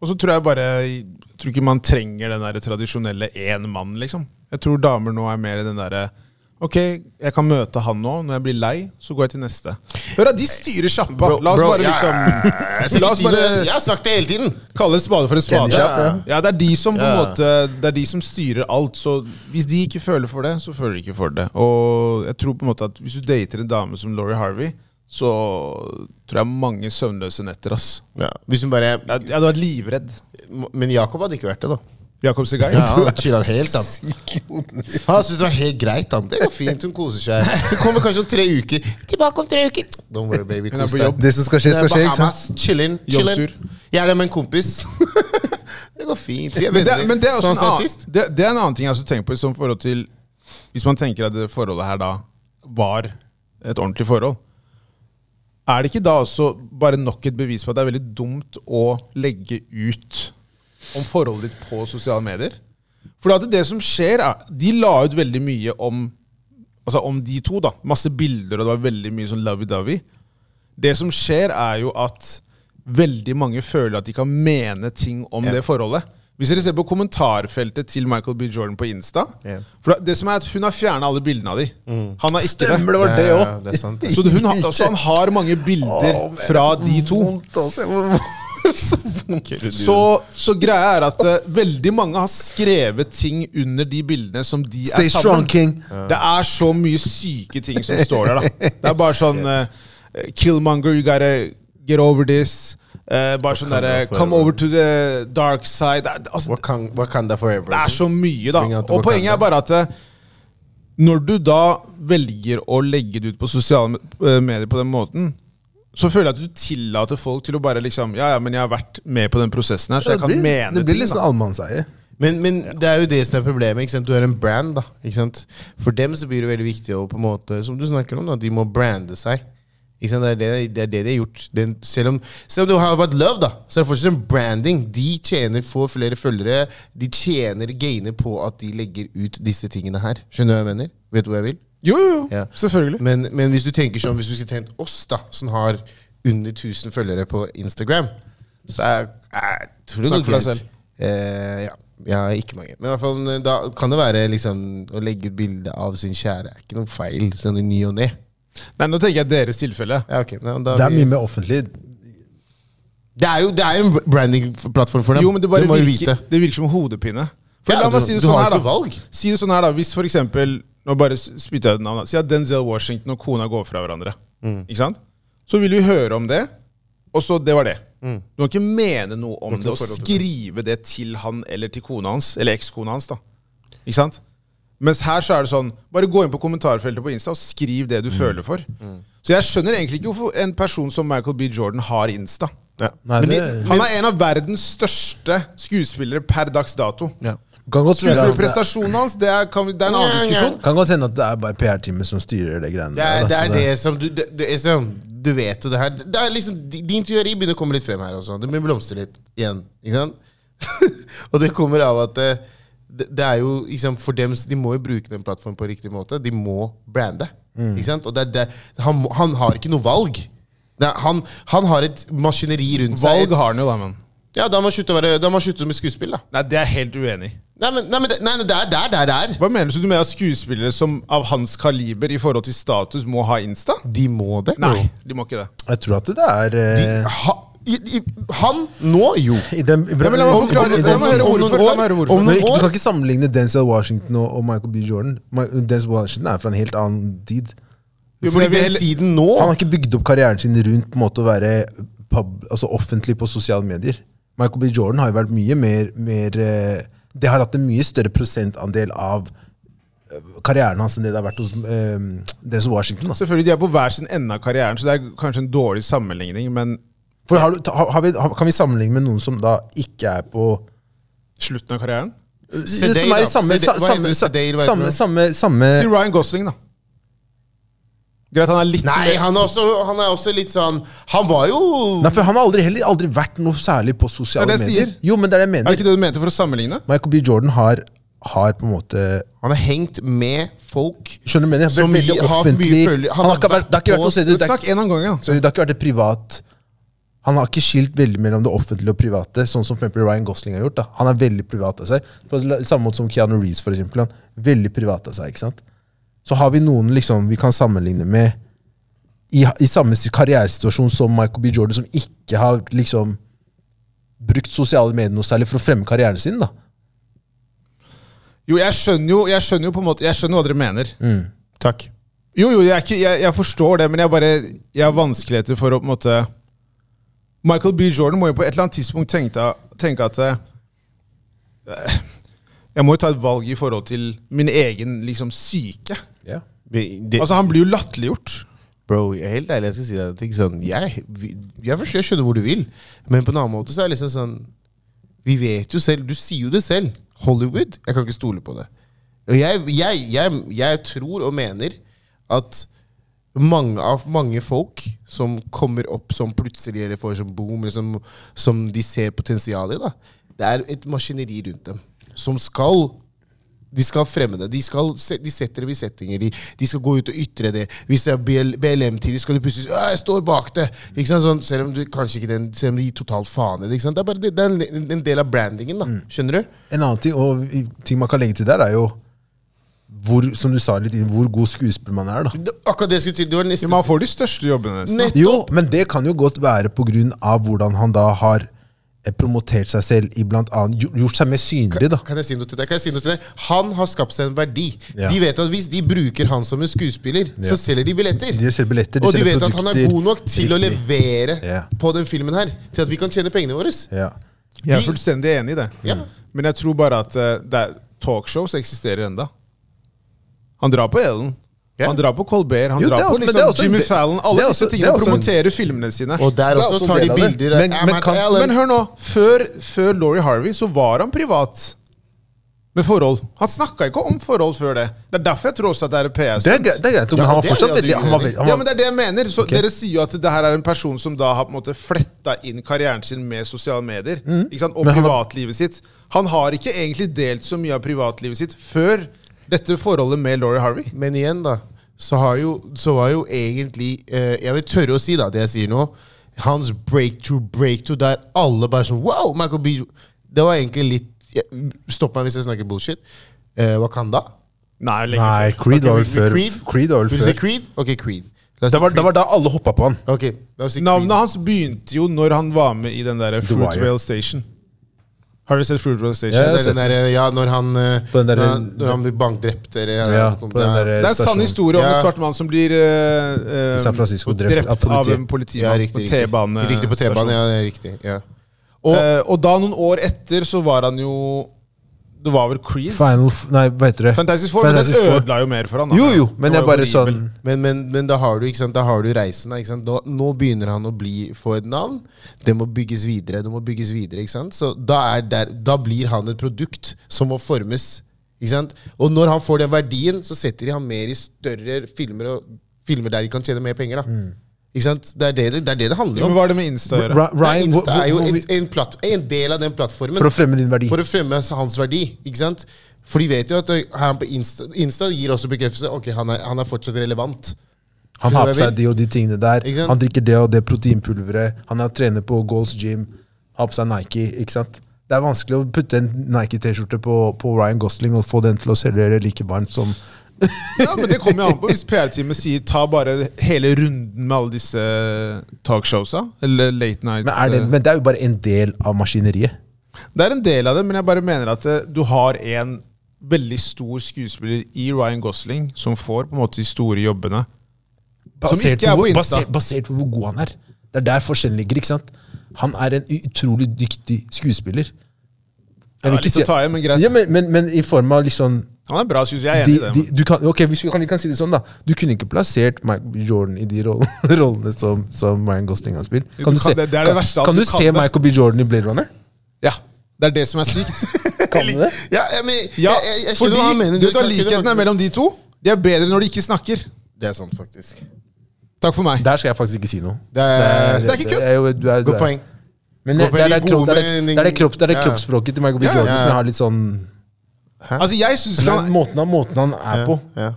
S3: Og så tror jeg bare Jeg tror ikke man trenger den der tradisjonelle én mann, liksom. Jeg tror damer nå er mer i den derre Ok, jeg kan møte han nå. Når jeg blir lei, så går jeg til neste. Hør da, de styrer sjappa!
S1: Bro-
S3: La oss
S1: bro,
S3: bare
S1: ja,
S3: liksom
S1: Jeg, skal
S3: La
S1: ikke
S3: oss
S1: si
S3: bare
S1: det. jeg har sagt det hele tiden!
S3: Kalle en spade for en spade.
S2: Kjendisjapp,
S3: Ja,
S2: ja.
S3: det er de som på en
S1: Ja.
S3: måte Det er de som styrer alt. Så hvis de ikke føler for det, så føler de ikke for det. Og jeg tror på en måte at hvis du dater en dame som Laurie Harvey, så tror jeg mange søvnløse netter, ass.
S1: Ja. Hvis hun bare
S3: Jeg, jeg hadde vært livredd.
S1: Men Jakob hadde ikke vært det, da.
S3: Jakob Segai.
S1: Ja, han chillet helt, han. Han syntes det var helt greit. han Det går fint, Hun koser seg. Hun kommer kanskje om tre uker. Tilbake om tre uker! Don't worry, baby.
S3: er
S1: Kos
S3: på
S1: deg.
S3: jobb.
S2: Det som skal skje, skal skje. ikke sant?
S1: Bahamas, chillen, chillen.
S3: Jobbtur.
S1: Jeg er der med en kompis. det går fint. Vi er
S3: Men det,
S1: venner.
S3: men det, er også en
S1: Sånn som
S3: annen,
S1: sist.
S3: det, det er en annen ting jeg også tenker på i sånn forhold til Hvis man tenker at det forholdet her da var et ordentlig forhold, er det ikke da også bare nok et bevis på at det er veldig dumt å legge ut om forholdet ditt på sosiale medier? For at det som skjer, er De la ut veldig mye om Altså om de to, da. Masse bilder, og det var veldig mye sånn lovey-dovey. Det som skjer, er jo at veldig mange føler at de kan mene ting om det forholdet. Hvis dere ser på kommentarfeltet til Michael B. Jordan på Insta
S1: Ja.
S3: For det som er at Hun har fjerna alle bildene av de. Han har ikke
S2: Stemmer, det var det
S1: Ja,
S2: òg.
S1: det er sant.
S3: det. Så hun har, altså, han har mange bilder fra de to.
S2: altså.
S3: Så, så greia er at eh, veldig mange har skrevet ting under de bildene som de
S2: Stay
S3: er sammen.
S2: strong, King.
S3: Det er så mye syke ting som står der. da Det er bare sånn eh, Killmonger, you gotta get over this. Eh, bare sånn derre
S1: forever.
S3: Come over to the dark side. Det, er- altså,
S1: Wakan- Wakanda forever.
S3: det er så mye, da.
S1: Bring out the
S3: Og poenget
S1: Wakanda.
S3: er bare at eh, når du da velger å legge det ut på sosiale eh, medier på den måten, så føler jeg at du tillater folk til å bare liksom Ja, ja, men jeg har vært med på den prosessen her, så jeg kan mene
S2: det blir
S3: ting.
S2: litt sånn
S3: Da.
S2: allemannseie.
S1: Men, men det er jo det som er problemet. Ikke sant? Du er en brand. da ikke sant? For dem så blir det veldig viktig å på en måte, som du snakker om, da, de må brande seg. Ikke sant? Det, er det, det er det de har gjort. Den, selv, om, selv om det har vært love, da, så er det fortsatt en branding. De tjener, får flere følgere. De tjener gainer på at de legger ut disse tingene her. Skjønner du hva jeg mener? Vet du hvor jeg vil?
S3: Jo, jo, jo.
S1: Ja.
S3: Selvfølgelig.
S1: Men, men hvis du tenker sånn, hvis du skulle tenkt oss, da, som har under 1000 følgere på Instagram, så er, er tror jeg
S3: Snakk for deg
S1: nok-
S3: selv.
S1: Eh, ja. Jeg har ikke mange. Men i hvert fall, da kan det være liksom, å legge ut bilde av sin kjære. er ikke noe feil. Sånn i ny og ne.
S3: Nei, nå tenker jeg deres tilfelle.
S1: Ja, ok, men da
S2: Det er
S1: vi,
S2: mye mer offentlig.
S1: det er jo det er en branding-plattform for dem.
S3: Jo, men det, bare
S1: må jo
S3: virker,
S1: vite.
S3: det virker som hodepine. For
S1: Ja,
S3: la meg
S1: du-
S3: si det
S1: du
S3: sånn
S1: har
S3: her,
S1: ikke
S3: da.
S1: valg.
S3: Si det sånn her da Hvis for eksempel Nå bare s- spytter jeg ut navnet. Si at Denzel Washington og kona går fra hverandre.
S1: Mm.
S3: Ikke sant? Så vil vi høre om det, og så det var det.
S1: Mm.
S3: Du kan ikke mene noe om det og skrive det til han eller til kona hans. Eller ekskona hans, da. Ikke sant? Mens her så er det sånn Bare gå inn på kommentarfeltet på Insta og skriv det
S1: Mm.
S3: du føler for. Så jeg skjønner egentlig ikke hvorfor en person som Michael B. Jordan har Insta.
S1: Ja.
S2: Nei,
S1: men,
S2: det,
S1: de-
S3: Han er en av verdens største skuespillere per dags dato.
S1: Ja.
S2: Kan godt hende at det-
S3: Skuespillerprestasjonen hans, det er, kan vi, det er en annen diskusjon.
S2: kan godt hende at det er bare PR-teamet som styrer det greiene
S1: Det
S2: der. altså.
S1: er
S2: da, så
S1: det, er det som du det, det er som, Du vet jo det her. Det er liksom, di- din teori begynner å komme litt frem her også. Det begynner å blomstre litt igjen. Ikke sant? og det kommer av at eh, det, det er jo liksom, for dem, De må jo bruke den plattformen på riktig måte. De må brande. Ikke sant? Og det er det, han, må- han har ikke noe valg. Det er, han, han har et maskineri rundt seg.
S3: Valg har han jo, da, men.
S1: Ja, Da må han slutte å være- da må han slutte med skuespill, da.
S3: Nei, det er jeg helt uenig i.
S1: Nei, men, nei, men det- nei, nei, det er der, der, der.
S3: Hva mener du med at skuespillere som av hans kaliber i forhold til status må ha Insta?
S1: De må det. bro.
S3: Nei, de må ikke det.
S2: Jeg tror at det er eh,
S1: Ha, i, i, han nå? Jo.
S2: i den, i,
S3: men la meg forklare-
S2: i den-
S3: la meg høre
S2: om noen
S3: hvorfor, la meg høre
S2: år-
S3: hvorfor.
S2: om noen
S1: Men
S2: år-
S1: ikke-
S2: Du kan ikke sammenligne Denzel Washington og, og Michael B. Jordan. Mi- Denzel Washington er fra en helt annen tid.
S3: Jo, men
S1: Fordi
S3: jeg vil
S1: den
S3: heller-
S1: tiden nå
S2: Han har ikke bygd opp karrieren sin rundt på en måte å være pub, altså offentlig på sosiale medier. Michael B. Jordan har jo vært mye mer, mer eh, Det har hatt en mye større prosentandel av eh, karrieren hans enn det det har vært hos eh, Denzel Washington. Altså.
S3: Selvfølgelig, de er på hver sin ende av karrieren, så det er kanskje en dårlig sammenligning, men
S2: For har, du- ta- har vi, har, kan vi sammenligne med noen som da ikke er på
S3: slutten av karrieren
S1: Sedate,
S2: Som er i
S1: da.
S2: samme
S1: Sedate-
S2: sa-
S1: hva heter
S2: samme-
S1: det? Sedate, hva
S2: samme-
S1: heter
S2: samme- samme-
S1: det?
S2: samme
S3: Si Ryan Gosling, da. Greit, han er litt
S1: Nei, han er, også, han er også litt sånn Han var jo
S2: Nei, for han har aldri, heller aldri vært noe særlig på sosiale
S3: Det er det jeg
S2: medier.
S3: sier.
S2: Jo, men det er det jeg
S3: Er det
S2: mener.
S3: ikke det du mente for å sammenligne?
S2: Michael B. Jordan har, har på en måte
S1: Han har hengt med folk.
S2: Skjønner du hva jeg mener?
S1: Som
S2: Vært veldig
S1: har hatt mye
S2: offentlig.
S1: følge-
S2: Han har ikke vært, det har ikke vært
S1: på-
S2: noe sted det, er
S3: Snakk
S2: ikke-
S3: en annen gang, ja.
S2: sorry, det har ikke vært et privat Han har ikke skilt veldig mellom det offentlige og private, sånn som for eksempel Ryan Gosling har gjort. da. Han er veldig privat av seg. På la- samme måte som Keanu Reeves, for eksempel. Han er veldig privat av seg. ikke sant? Så har vi noen liksom, vi kan sammenligne med i, i samme si- karrieresituasjon som Michael B. Jordan, som ikke har liksom brukt sosiale medier noe særlig for å fremme karrieren sin. da.
S3: Jo, jeg skjønner jo, jeg skjønner jo på en måte, jeg skjønner hva dere mener.
S1: Takk.
S3: Jo, jo, jeg, er ikke, jeg, jeg forstår det, men jeg, bare, jeg har vanskeligheter for å på en måte Michael B. Jordan må jo på et eller annet tidspunkt tenke, tenke at eh, Jeg må jo ta et valg i forhold til min egen liksom, syke.
S1: Vi- det-
S3: Altså, han blir jo latterliggjort.
S1: Bro, jeg er helt ærlig, jeg skal si deg en ting. Sånn, jeg, vi- jeg, forstår, jeg skjønner hvor du vil, men på en annen måte så er det liksom sånn Vi vet jo selv, du sier jo det selv. Hollywood. Jeg kan ikke stole på det. Og jeg, jeg, jeg, jeg tror og mener at mange av mange folk som kommer opp som plutselig eller får som boom, eller som, som de ser potensial i, da, det er et maskineri rundt dem som skal de skal fremme det. De, skal, se- de setter dem i settinger. De, de skal gå ut og ytre det. Hvis det er BL, BLM-tid, skal du plutselig si «Å, 'Jeg står bak det!' Ikke sant? Sånn, selv, om du, kanskje ikke den, selv om de gir totalt faen i det. Ikke sant? Det er bare det, det er en, en del av brandingen. da,
S2: Mm.
S1: Skjønner du?
S2: En annen ting, og i- ting man kan legge til der, er jo hvor, som du sa litt, inn- hvor god skuespiller man er. da.
S1: Det, akkurat det jeg skulle til. Det var neste
S3: Men han får de største jobbene. nesten.
S1: Nett-
S2: Jo, men det kan jo godt være på grunn av hvordan han da har eh, promotert seg selv i blant annet, gjo- gjort seg mer synlig. da.
S1: Kan jeg si noe til deg? Kan jeg si noe til deg? Han har skapt seg en verdi.
S2: Ja.
S1: De vet at hvis de bruker han som en skuespiller,
S2: Ja.
S1: så selger de billetter.
S2: De selger billetter, de
S1: og de
S2: selger
S1: vet at han er
S2: produkter.
S1: god nok til å
S2: Riktig.
S1: levere
S2: Ja.
S1: på den filmen her. Til at vi kan tjene pengene våre.
S2: Ja.
S3: Jeg er
S1: Vi-
S3: fullstendig enig i det.
S1: Ja.
S3: Men jeg tror bare at eh, det er talkshows eksisterer enda. Han drar på Ellen.
S1: Ja.
S3: Han drar på Colbert, han
S2: Jo, det
S3: drar
S2: er
S3: på
S2: også- men det er også en
S3: liksom Jimmy
S2: del-
S3: Fallon.
S2: det
S3: Alle
S2: er
S3: disse
S2: også- det
S3: tingene
S2: er også en-
S3: promoterer filmene sine.
S1: Og der
S2: Det er
S1: også,
S2: også en
S1: tar de
S2: del av det.
S1: bilder av
S2: Men-
S1: I'm
S2: men
S1: at
S2: kan-
S1: Ellen.
S3: Men hør nå. Før, før Laurie Harvey så var han privat med forhold. Han snakka ikke om forhold før det. Det er derfor jeg tror også at det er et PS.
S2: Det, er, gre- det er greit, men
S1: Ja,
S2: han var
S1: det er
S2: fortsatt
S1: det du
S2: veldig han var,
S1: gjør.
S2: veldig- han var,
S3: Ja, men det er det jeg mener. Så Dere sier jo at det her er en person som da har på en måte fletta inn karrieren sin med sosiale medier ikke sant?
S2: Mm.
S3: og
S2: Men han har-
S3: privatlivet sitt. Han har ikke egentlig delt så mye av privatlivet sitt før dette forholdet med Laurie Harvey.
S1: Men igjen, da, så, har jo, så var jo egentlig eh, Jeg vil tørre å si da, det jeg sier nå. Hans breakthrough, breakthrough, der alle bare sånn Wow! Michael B. Det var egentlig litt ja, Stopp meg hvis jeg snakker bullshit. Eh, Wakanda?
S3: Nei, lenge
S2: Nei,
S3: før.
S2: Creed var vel
S1: Vil-
S2: før.
S1: vil Creed?
S2: Creed var vel
S1: Vil du si
S2: før.
S1: Creed? Ok, Creed. La oss
S2: Det
S1: si
S2: var, det
S1: Creed.
S2: var da alle hoppa på han.
S1: Ok, la oss si
S3: Navnet
S1: Creed.
S3: hans begynte jo når han var med i den derre
S2: Wire.
S3: Fruitvale Station. Har dere sett Fruitvale Station?
S2: Ja,
S1: Det
S2: jeg
S1: er den der, ja, når han, eh,
S2: På den der-
S1: når, han- når han blir bankdrept eller
S2: Ja, på den der
S3: Det er en sann
S2: stasjonen.
S3: historie om
S1: Ja.
S3: en svart mann som blir eh, eh,
S2: I San Francisco, drept av
S3: drept av
S2: politiet.
S3: en
S1: ja,
S3: politimann på
S1: riktig,
S3: T-banen.
S1: riktig. Riktig på
S3: Eh,
S1: T-banen, ja, det er riktig. Ja.
S3: Og, og da noen år etter så var han jo Det var vel Creed?
S5: Final F- Nei, hva heter det?
S3: Fantastic Four, men
S5: Fantastic
S3: den
S5: Four.
S3: ødela jo mer for han. da.
S5: Jo, jo, men
S3: Det
S5: jeg
S3: var jo
S5: bare
S3: horribel.
S5: sånn
S1: Men, men, men da har du ikke sant, da har du reisen. da, Ikke sant? Da, nå begynner han å bli få et navn. Det må bygges videre. det må bygges videre, ikke sant? Så da, er der, da blir han et produkt som må formes. ikke sant? Og når han får den verdien, så setter de ham mer i større filmer og filmer der de kan tjene mer penger. da.
S5: Mm.
S1: Ikke sant? Det er det det, det, er det, det handler
S3: Men
S1: om.
S3: Hva er det med Insta å
S5: Ri-
S3: gjøre?
S1: Nei,
S5: Ryan, hvor,
S1: Insta er jo
S5: hvor,
S1: en,
S5: hvor,
S1: en, platt, en del av den plattformen.
S5: for å fremme din verdi.
S1: For å fremme hans verdi, ikke sant? For de vet jo at ø, han på Insta, Insta gir også bekreftelse. Ok, han er, han er fortsatt relevant.
S2: Han
S1: Skjønner
S2: har
S1: du
S2: på
S1: hva jeg
S2: seg de og de tingene der.
S1: Ikke sant?
S2: Han drikker det og det proteinpulveret. Han er trener på Goals Gym. Har på seg Nike. ikke sant? Det er vanskelig å putte en Nike-T-skjorte på, på Ryan Gosling og få den til å selge like varmt som
S3: Ja, men Det kommer jo an på. Hvis PR-teamet sier ta bare hele runden med alle disse talkshowsa, eller late night eh,
S2: men, er det, men det er jo bare en del av maskineriet.
S3: Det er en del av det, men jeg bare mener at eh, du har en veldig stor skuespiller i Ryan Gosling som får på en måte de store jobbene. Som
S2: Basert på,
S3: ikke er på
S2: hvor,
S3: Insta.
S2: basert, basert på hvor god han er. Det er der forskjellen ligger. ikke sant? Han er en utrolig dyktig skuespiller.
S3: Jeg
S2: vil
S3: har
S2: ikke
S3: lyst
S2: si-
S3: til å ta igjen, men greit.
S2: ja, men, men, men i form av liksom
S3: Han er en bra skuespiller. Jeg er
S2: de,
S3: enig i det.
S2: de,
S3: men-
S2: du kan, ok, hvis vi kan, vi kan si det sånn da Du kunne ikke plassert Michael Jordan i de rollene, rollene som, som Ryan Gosling har spilt.
S3: Du
S2: Kan du
S3: kan-
S2: se,
S3: det- det er det verste at
S2: kan, kan
S3: du
S2: du
S3: kan
S2: se
S3: det.
S2: Michael B. Jordan i Blade Runner?
S3: Ja, Det er det som er sykt.
S2: Kan du det?
S1: Ja, jeg, men,
S3: Ja,
S1: jeg, jeg, jeg skjønner
S3: fordi
S1: hva han mener.
S3: du vet hva
S1: kan ikke det,
S3: Likheten er
S1: Martin.
S3: mellom de to. De er bedre når de ikke snakker.
S1: Det er sant, faktisk.
S3: Takk for meg.
S2: Der skal jeg faktisk ikke si noe.
S1: Det er,
S3: det er ikke kødd.
S2: jo- du er- du
S1: Godt
S2: er-
S1: poeng.
S2: Men det, det, er,
S1: Godt poeng.
S2: det,
S1: De
S2: kropp, det, er,
S1: gode
S2: det, er, det,
S1: meningene.
S2: kropps- det er det
S1: Ja, ja.
S2: kroppsspråket til Michael B.
S3: Ja, ja,
S2: Jordan som
S1: ja.
S2: jeg har litt sånn
S3: Altså, jeg synes
S2: Nei,
S3: han
S2: måten, han, måten han er på.
S1: Ja.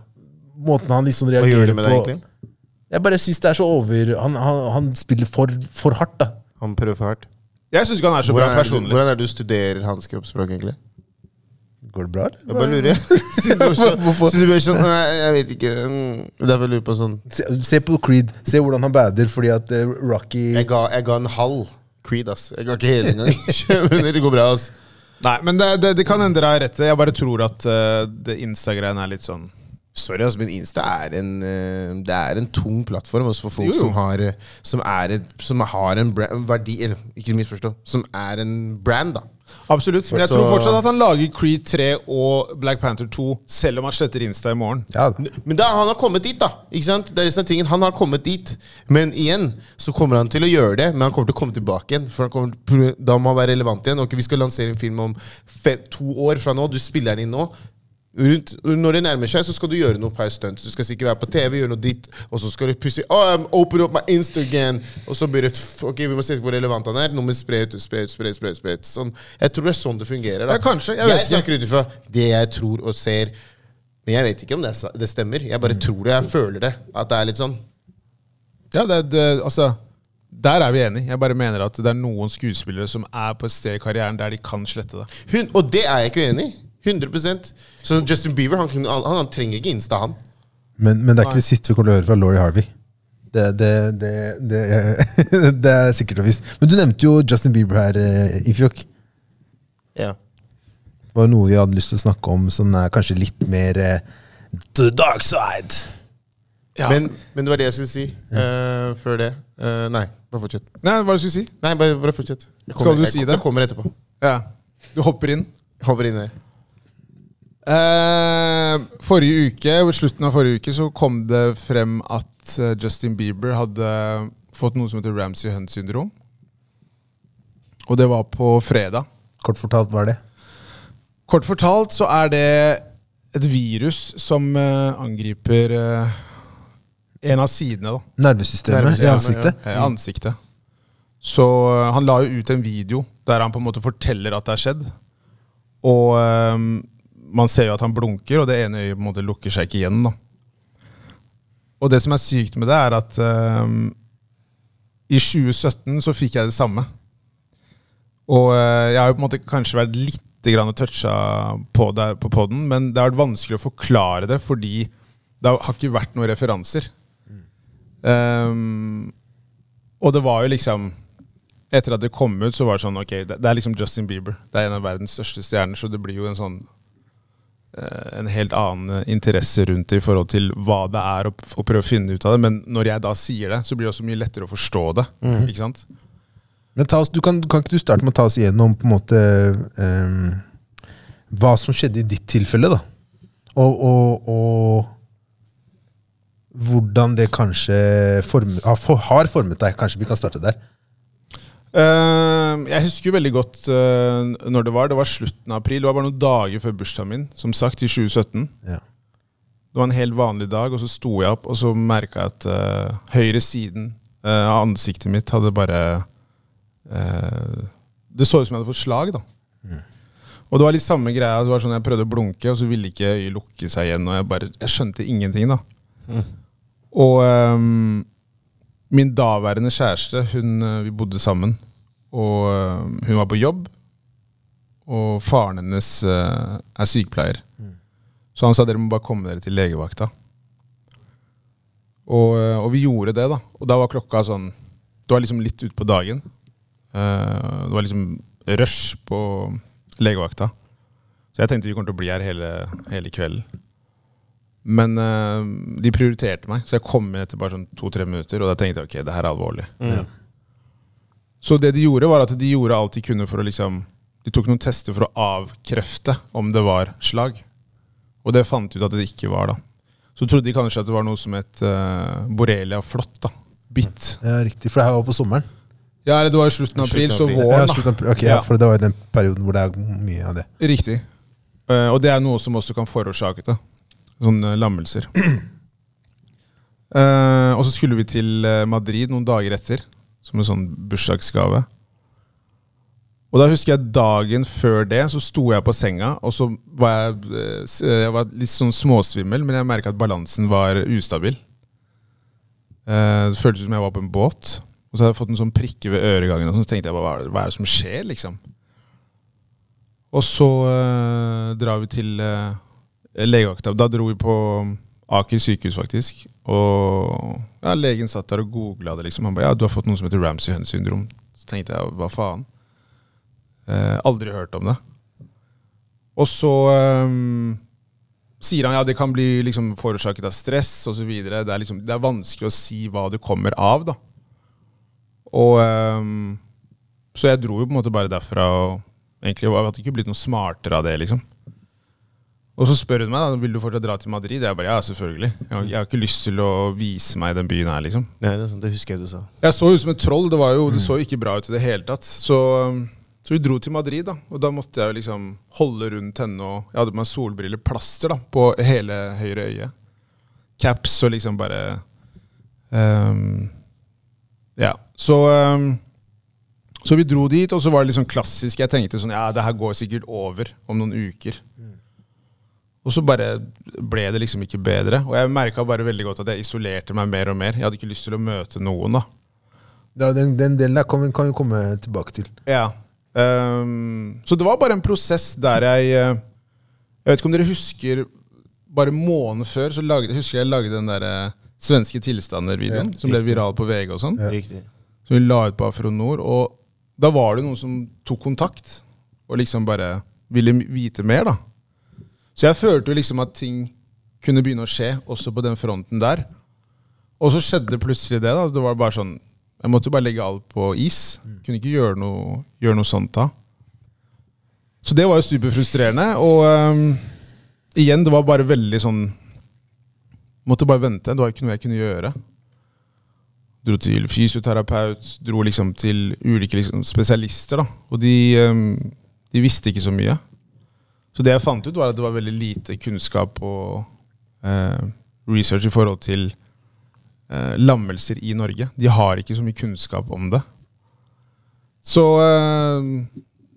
S2: Måten han liksom
S1: Hva gjør
S2: reagerer
S1: det med deg, egentlig?
S2: på. Jeg bare syns det er så over Han, han, han spiller for, for hardt, da.
S1: Han prøver for hardt.
S3: Jeg syns ikke han er så bra
S1: Hvordan er, det, du-
S3: personlig.
S1: hvordan er det du studerer hans kroppsspråk, egentlig?
S2: Går det bra, eller?
S1: Jeg bare lurer. Siden du er sånn- siden du er sånn Nei, jeg vet ikke. mm, Derfor lurer jeg på sånn
S2: Se, se på Creed. Se hvordan han bader fordi at eh, Rocky
S1: Jeg ga, jeg ga en halv Creed, ass. Jeg ga ikke hele engang. Men det går bra, ass.
S3: Nei, men det, det, det kan hende dere har rett. Jeg bare tror at eh, det Insta-greien er litt sånn
S1: Sorry, ass, men Insta er en, eh, det er en tung plattform også for folk
S3: Jo, jo.
S1: som har, eh, som er et, som har en bra- verdi eller, Ikke misforstå. Som er en brand, da.
S3: Absolutt. Men jeg
S1: Så-
S3: tror fortsatt at han lager Creed 3 og Black Panther 2, selv om han sletter Insta i morgen.
S2: Ja da.
S1: Men da, han har kommet dit, da. Ikke sant? Det er resten av tingen. Han har kommet dit. Men igjen så kommer han til å gjøre det, men han kommer til å komme tilbake igjen. For han kommer, Da må han være relevant igjen. Ok, Vi skal lansere en film om fe- to år fra nå. Du spiller den inn nå. Rundt, når det nærmer seg, så skal du gjøre noe per stunt. Du skal sikkert være på TV, gjøre noe ditt, og så skal du plutselig oh, I'm Open up my Instagram! Og så blir det f- Ok, vi må se hvor relevant han er. Nå må vi spre ut, spre ut, spre ut. spre ut, spre ut. Sånn. Jeg tror det er sånn det fungerer. da
S3: Ja, kanskje. Jeg
S1: Jeg,
S3: vet ikke.
S1: snakker ut ifra det jeg tror og ser. Men jeg vet ikke om det, er sa- det stemmer. Jeg
S3: Mm.
S1: bare tror det. Jeg føler det. At det er litt sånn.
S3: Ja, det, det, altså Der er vi enige. Jeg bare mener at det er noen skuespillere som er på et sted i karrieren der de kan slette det.
S1: Hun, og det er jeg ikke uenig i. 100 Så Justin Bieber han, kunne- han, han trenger ikke Insta, han.
S2: Men, men det er ikke det siste vi kommer til å høre fra Laurie Harvey. Det, det, det, det, det er sikkert og visst. Men du nevnte jo Justin Bieber her, eh, Ifjok.
S1: Ja.
S2: Det var noe vi hadde lyst til å snakke om som er kanskje litt mer eh, to the dark side.
S1: Men, men det var det jeg skulle si eh, før det. Eh, nei, bare fortsett.
S3: Nei, hva er det du skulle si?
S1: Nei, bare, bare fortsett. Jeg
S3: Skal du
S1: jeg,
S3: si det?
S1: Jeg kommer etterpå.
S3: Ja. Du hopper inn.
S1: Jeg Hopper inn i det.
S3: Eh, forrige uke, ved slutten av forrige uke så kom det frem at eh, Justin Bieber hadde fått noe som heter Ramsay Hunt-syndrom. Og det var på fredag.
S2: Kort fortalt, hva er det?
S3: Kort fortalt så er det et virus som eh, angriper eh, en av sidene da,
S2: Nervesystemet i
S1: Nervesystemet,
S2: ansiktet.
S3: eh, ansiktet. Så eh, han la jo ut en video der han på en måte forteller at det har skjedd. Og eh, man ser jo at han blunker, og det ene øyet på en måte lukker seg ikke igjen. da. Og det som er sykt med det, er at eh, i 2017 så fikk jeg det samme. Og eh, jeg har jo på en måte kanskje vært litt grann toucha på det på podden, men det har vært vanskelig å forklare det fordi det har ikke vært noen referanser. Ehm, og det var jo liksom Etter at det kom ut, så var det sånn Ok, det, det er liksom Justin Bieber. Det er en av verdens største stjerner, så det blir jo en sånn eh, en helt annen eh, interesse rundt det i forhold til hva det er, og, og prøve å finne ut av det. Men når jeg da sier det, så blir det også mye lettere å forstå det. Ikke sant?
S2: Men ta oss, du kan, kan ikke du starte med å ta oss igjennom på en måte eh, ehm, hva som skjedde i ditt tilfelle, da. Og, og, og hvordan det kanskje form, har, for, har formet deg. Kanskje vi kan starte der.
S3: Eh, jeg husker jo veldig godt eh, når det var. Det var slutten av april. Det var bare noen dager før bursdagen min, som sagt, i 2017.
S2: Ja.
S3: Det var en helt vanlig dag, og så sto jeg opp og så merka jeg at eh, høyre siden eh, av ansiktet mitt hadde bare eh, Det så ut som jeg hadde fått slag, da. Og det var litt samme greia. Det var sånn Jeg prøvde å blunke, og så ville ikke øyet lukke seg igjen. Og jeg bare Jeg skjønte ingenting, da. Og ehm, min daværende kjæreste, hun, eh, vi bodde sammen. Og eh, hun var på jobb, og faren hennes eh, er sykepleier. Så han sa dere må bare komme dere til legevakta. Og, eh, og vi gjorde det, da. Og da var klokka sånn Det var liksom litt utpå dagen. Eh, det var liksom rush på legevakta. Så jeg tenkte vi kommer til å bli her hele, hele kvelden. Men eh, de prioriterte meg, så jeg kom inn etter bare sånn to-tre minutter. Og da tenkte jeg ok, det her er alvorlig. Så det de gjorde, var at de gjorde alt de kunne for å liksom De tok noen tester for å avkrefte om det var slag. Og det fant de ut at det ikke var, da. Så trodde de kanskje at det var noe som het eh, borrelia flått, da. Bitt.
S2: ja, riktig. For det her var på sommeren.
S3: Ja, eller det var i slutten av april, så
S2: Ja,
S3: våren, da.
S2: slutten av- ok, ja,
S3: Ja.
S2: For det var jo den perioden hvor det er mye av det.
S3: Riktig. Eh, og det er noe som også kan forårsake det. Sånne lammelser. Eh, og så skulle vi til eh, Madrid noen dager etter, som en sånn bursdagsgave. Og da husker jeg dagen før det, så sto jeg på senga, og så var jeg, eh, s- eh, jeg var litt sånn småsvimmel, men jeg merka at balansen var ustabil. Eh, det føltes som jeg var på en båt, og så hadde jeg fått en sånn prikke ved øregangen, og så tenkte jeg bare, hva er det, hva er det som skjer, liksom? Og så eh, drar vi til uh, legevakta. Da dro vi på um, Aker sykehus, faktisk. Og ja, legen satt der og googla det. liksom. Han ba, ja, du har fått noe som heter Ramsay Hunt syndrom. Så tenkte jeg hva faen? Eh, aldri hørt om det. Og så eh, sier han ja, det kan bli liksom, forårsaket av stress osv. Det, er liksom, det er vanskelig å si hva det kommer av. da. Og eh, så jeg dro jo på en måte bare derfra og egentlig var- hadde ikke blitt noe smartere av det, liksom. Og så spør hun meg da, vil du fortsatt dra til Madrid. Jeg bare ja, selvfølgelig. Jeg har, jeg har ikke lyst til å vise meg i den byen her, liksom.
S1: Nei, det, er sant, det husker jeg du sa.
S3: Jeg så ut som et troll. Det, var jo, det så jo ikke bra ut i det hele tatt. Så, um, så vi dro til Madrid, da. Og da måtte jeg jo liksom holde rundt henne. Og jeg hadde på meg solbriller, plaster, da, på hele høyre øye. Caps og liksom bare um, Ja. Så um, så vi dro dit, og så var det liksom klassisk. Jeg tenkte sånn Ja, det her går sikkert over om noen uker. Og så bare ble det liksom ikke bedre. Og jeg merka bare veldig godt at jeg isolerte meg mer og mer. Jeg hadde ikke lyst til å møte noen, da.
S2: Ja, den, den delen der kan vi, kan vi komme tilbake til.
S3: Ja. Ehm, så det var bare en prosess der jeg eh, Jeg vet ikke om dere husker Bare måneden før så lagde, husker jeg lagde den der eh, svenske tilstander-videoen som ble viral på VG og sånn.
S1: Riktig.
S3: Som vi la ut på Afronor. Og da var det noen som tok kontakt og liksom bare ville vite mer, da. Så jeg følte jo liksom at ting kunne begynne å skje også på den fronten der. Og så skjedde plutselig det. da Det var bare sånn Jeg måtte bare legge alt på is. Kunne ikke gjøre noe, gjøre noe sånt da. Så det var jo superfrustrerende. Og øhm, igjen, det var bare veldig sånn Måtte bare vente. Det var ikke noe jeg kunne gjøre. Dro til fysioterapeut, dro liksom til ulike liksom spesialister, da. Og de, øhm, de visste ikke så mye. Så det jeg fant ut, var at det var veldig lite kunnskap og eh, research i forhold til eh, lammelser i Norge. De har ikke så mye kunnskap om det. Så, eh,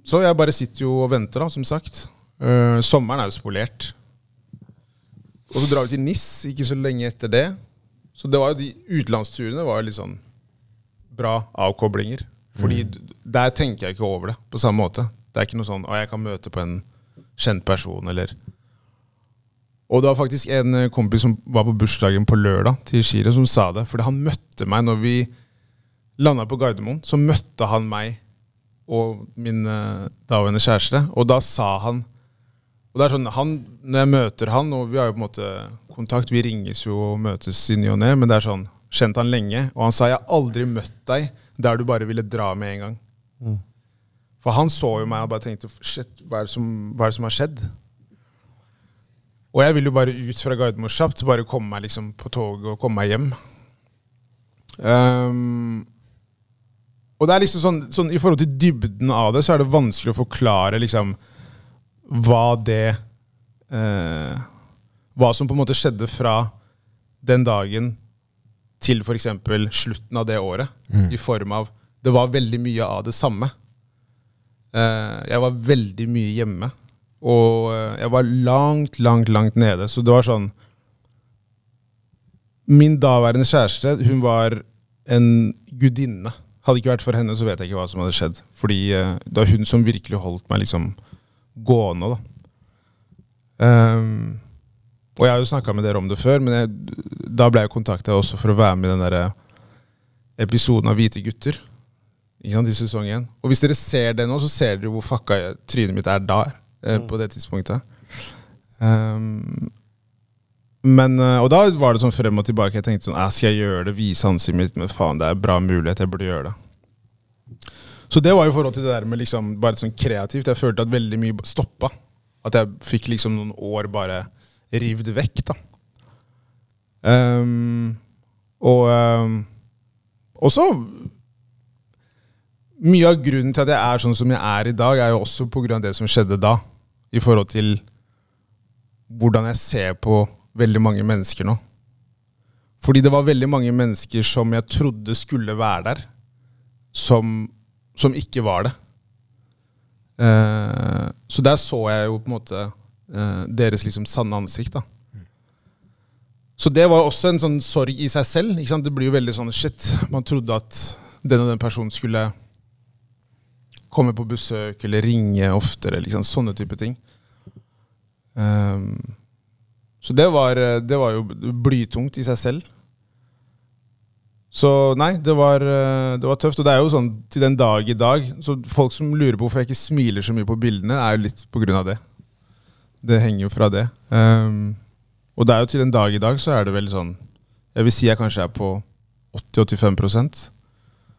S3: så jeg bare sitter jo og venter, da, som sagt. Eh, sommeren er jo spolert. Og så drar vi til NIS ikke så lenge etter det. Så det var jo de utenlandsturene var jo litt sånn bra avkoblinger. Fordi d- der tenker jeg ikke over det på samme måte. Det er ikke noe sånn at jeg kan møte på en kjent person, eller og det var faktisk en eh, kompis som var på bursdagen på lørdag til Shire, som sa det. Fordi han møtte meg når vi landa på Gardermoen. Så møtte han meg og min eh, daværende kjæreste, og da sa han og det er sånn, han, Når jeg møter han, og vi har jo på en måte kontakt, vi ringes jo og møtes i ny og ne, men det er sånn Kjent han lenge, og han sa 'jeg har aldri møtt deg der du bare ville dra med en gang'. For han så jo meg og bare tenkte Shit, hva er det som, hva er det som har skjedd? Og jeg ville jo bare ut fra Gardermoen kjapt, bare komme meg liksom på toget og komme meg hjem. Ehm, og det er liksom sånn, sånn I forhold til dybden av det, så er det vanskelig å forklare liksom hva det eh, Hva som på en måte skjedde fra den dagen til f.eks. slutten av det året. I form av Det var veldig mye av det samme. Eh, jeg var veldig mye hjemme. Og eh, jeg var langt, langt, langt nede. Så det var sånn Min daværende kjæreste, hun var en gudinne. Hadde det ikke vært for henne, så vet jeg ikke hva som hadde skjedd. Fordi eh, det var hun som virkelig holdt meg liksom gående, da. Ehm, og jeg har jo snakka med dere om det før, men jeg, da ble jeg kontakta også for å være med i den der eh, episoden av Hvite gutter. Ikke sant, i sesong én. Og hvis dere ser det nå, så ser dere hvor fucka jeg, trynet mitt er da. eh, På det tidspunktet. Ehm, men, eh, og da var det sånn frem og tilbake. Jeg tenkte sånn, "Æ, Skal jeg gjøre det? Vise ansiktet mitt? Men faen, det er en bra mulighet. Jeg burde gjøre det. Så det var jo i forhold til det der med liksom bare sånn kreativt. Jeg følte at veldig mye stoppa. At jeg fikk liksom noen år bare rivd vekk, da. Ehm, og ehm, og så mye av grunnen til at jeg er sånn som jeg er i dag, er jo også pga. det som skjedde da. I forhold til hvordan jeg ser på veldig mange mennesker nå. Fordi det var veldig mange mennesker som jeg trodde skulle være der, som, som ikke var det. Eh, så der så jeg jo på en måte eh, deres liksom sanne ansikt, da. Så det var også en sånn sorg i seg selv. Ikke sant? Det blir jo veldig sånn shit. Man trodde at den og den personen skulle komme på besøk eller ringe oftere. Liksom, sånne type ting. Ehm, så det var, eh, det var jo blytungt i seg selv. Så nei, det var, eh, det var tøft. Og det er jo sånn til den dag i dag Så folk som lurer på hvorfor jeg ikke smiler så mye på bildene, er jo litt på grunn av det. Det henger jo fra det. Ehm, og det er jo til den dag i dag så er det vel sånn Jeg vil si jeg kanskje er på 80-85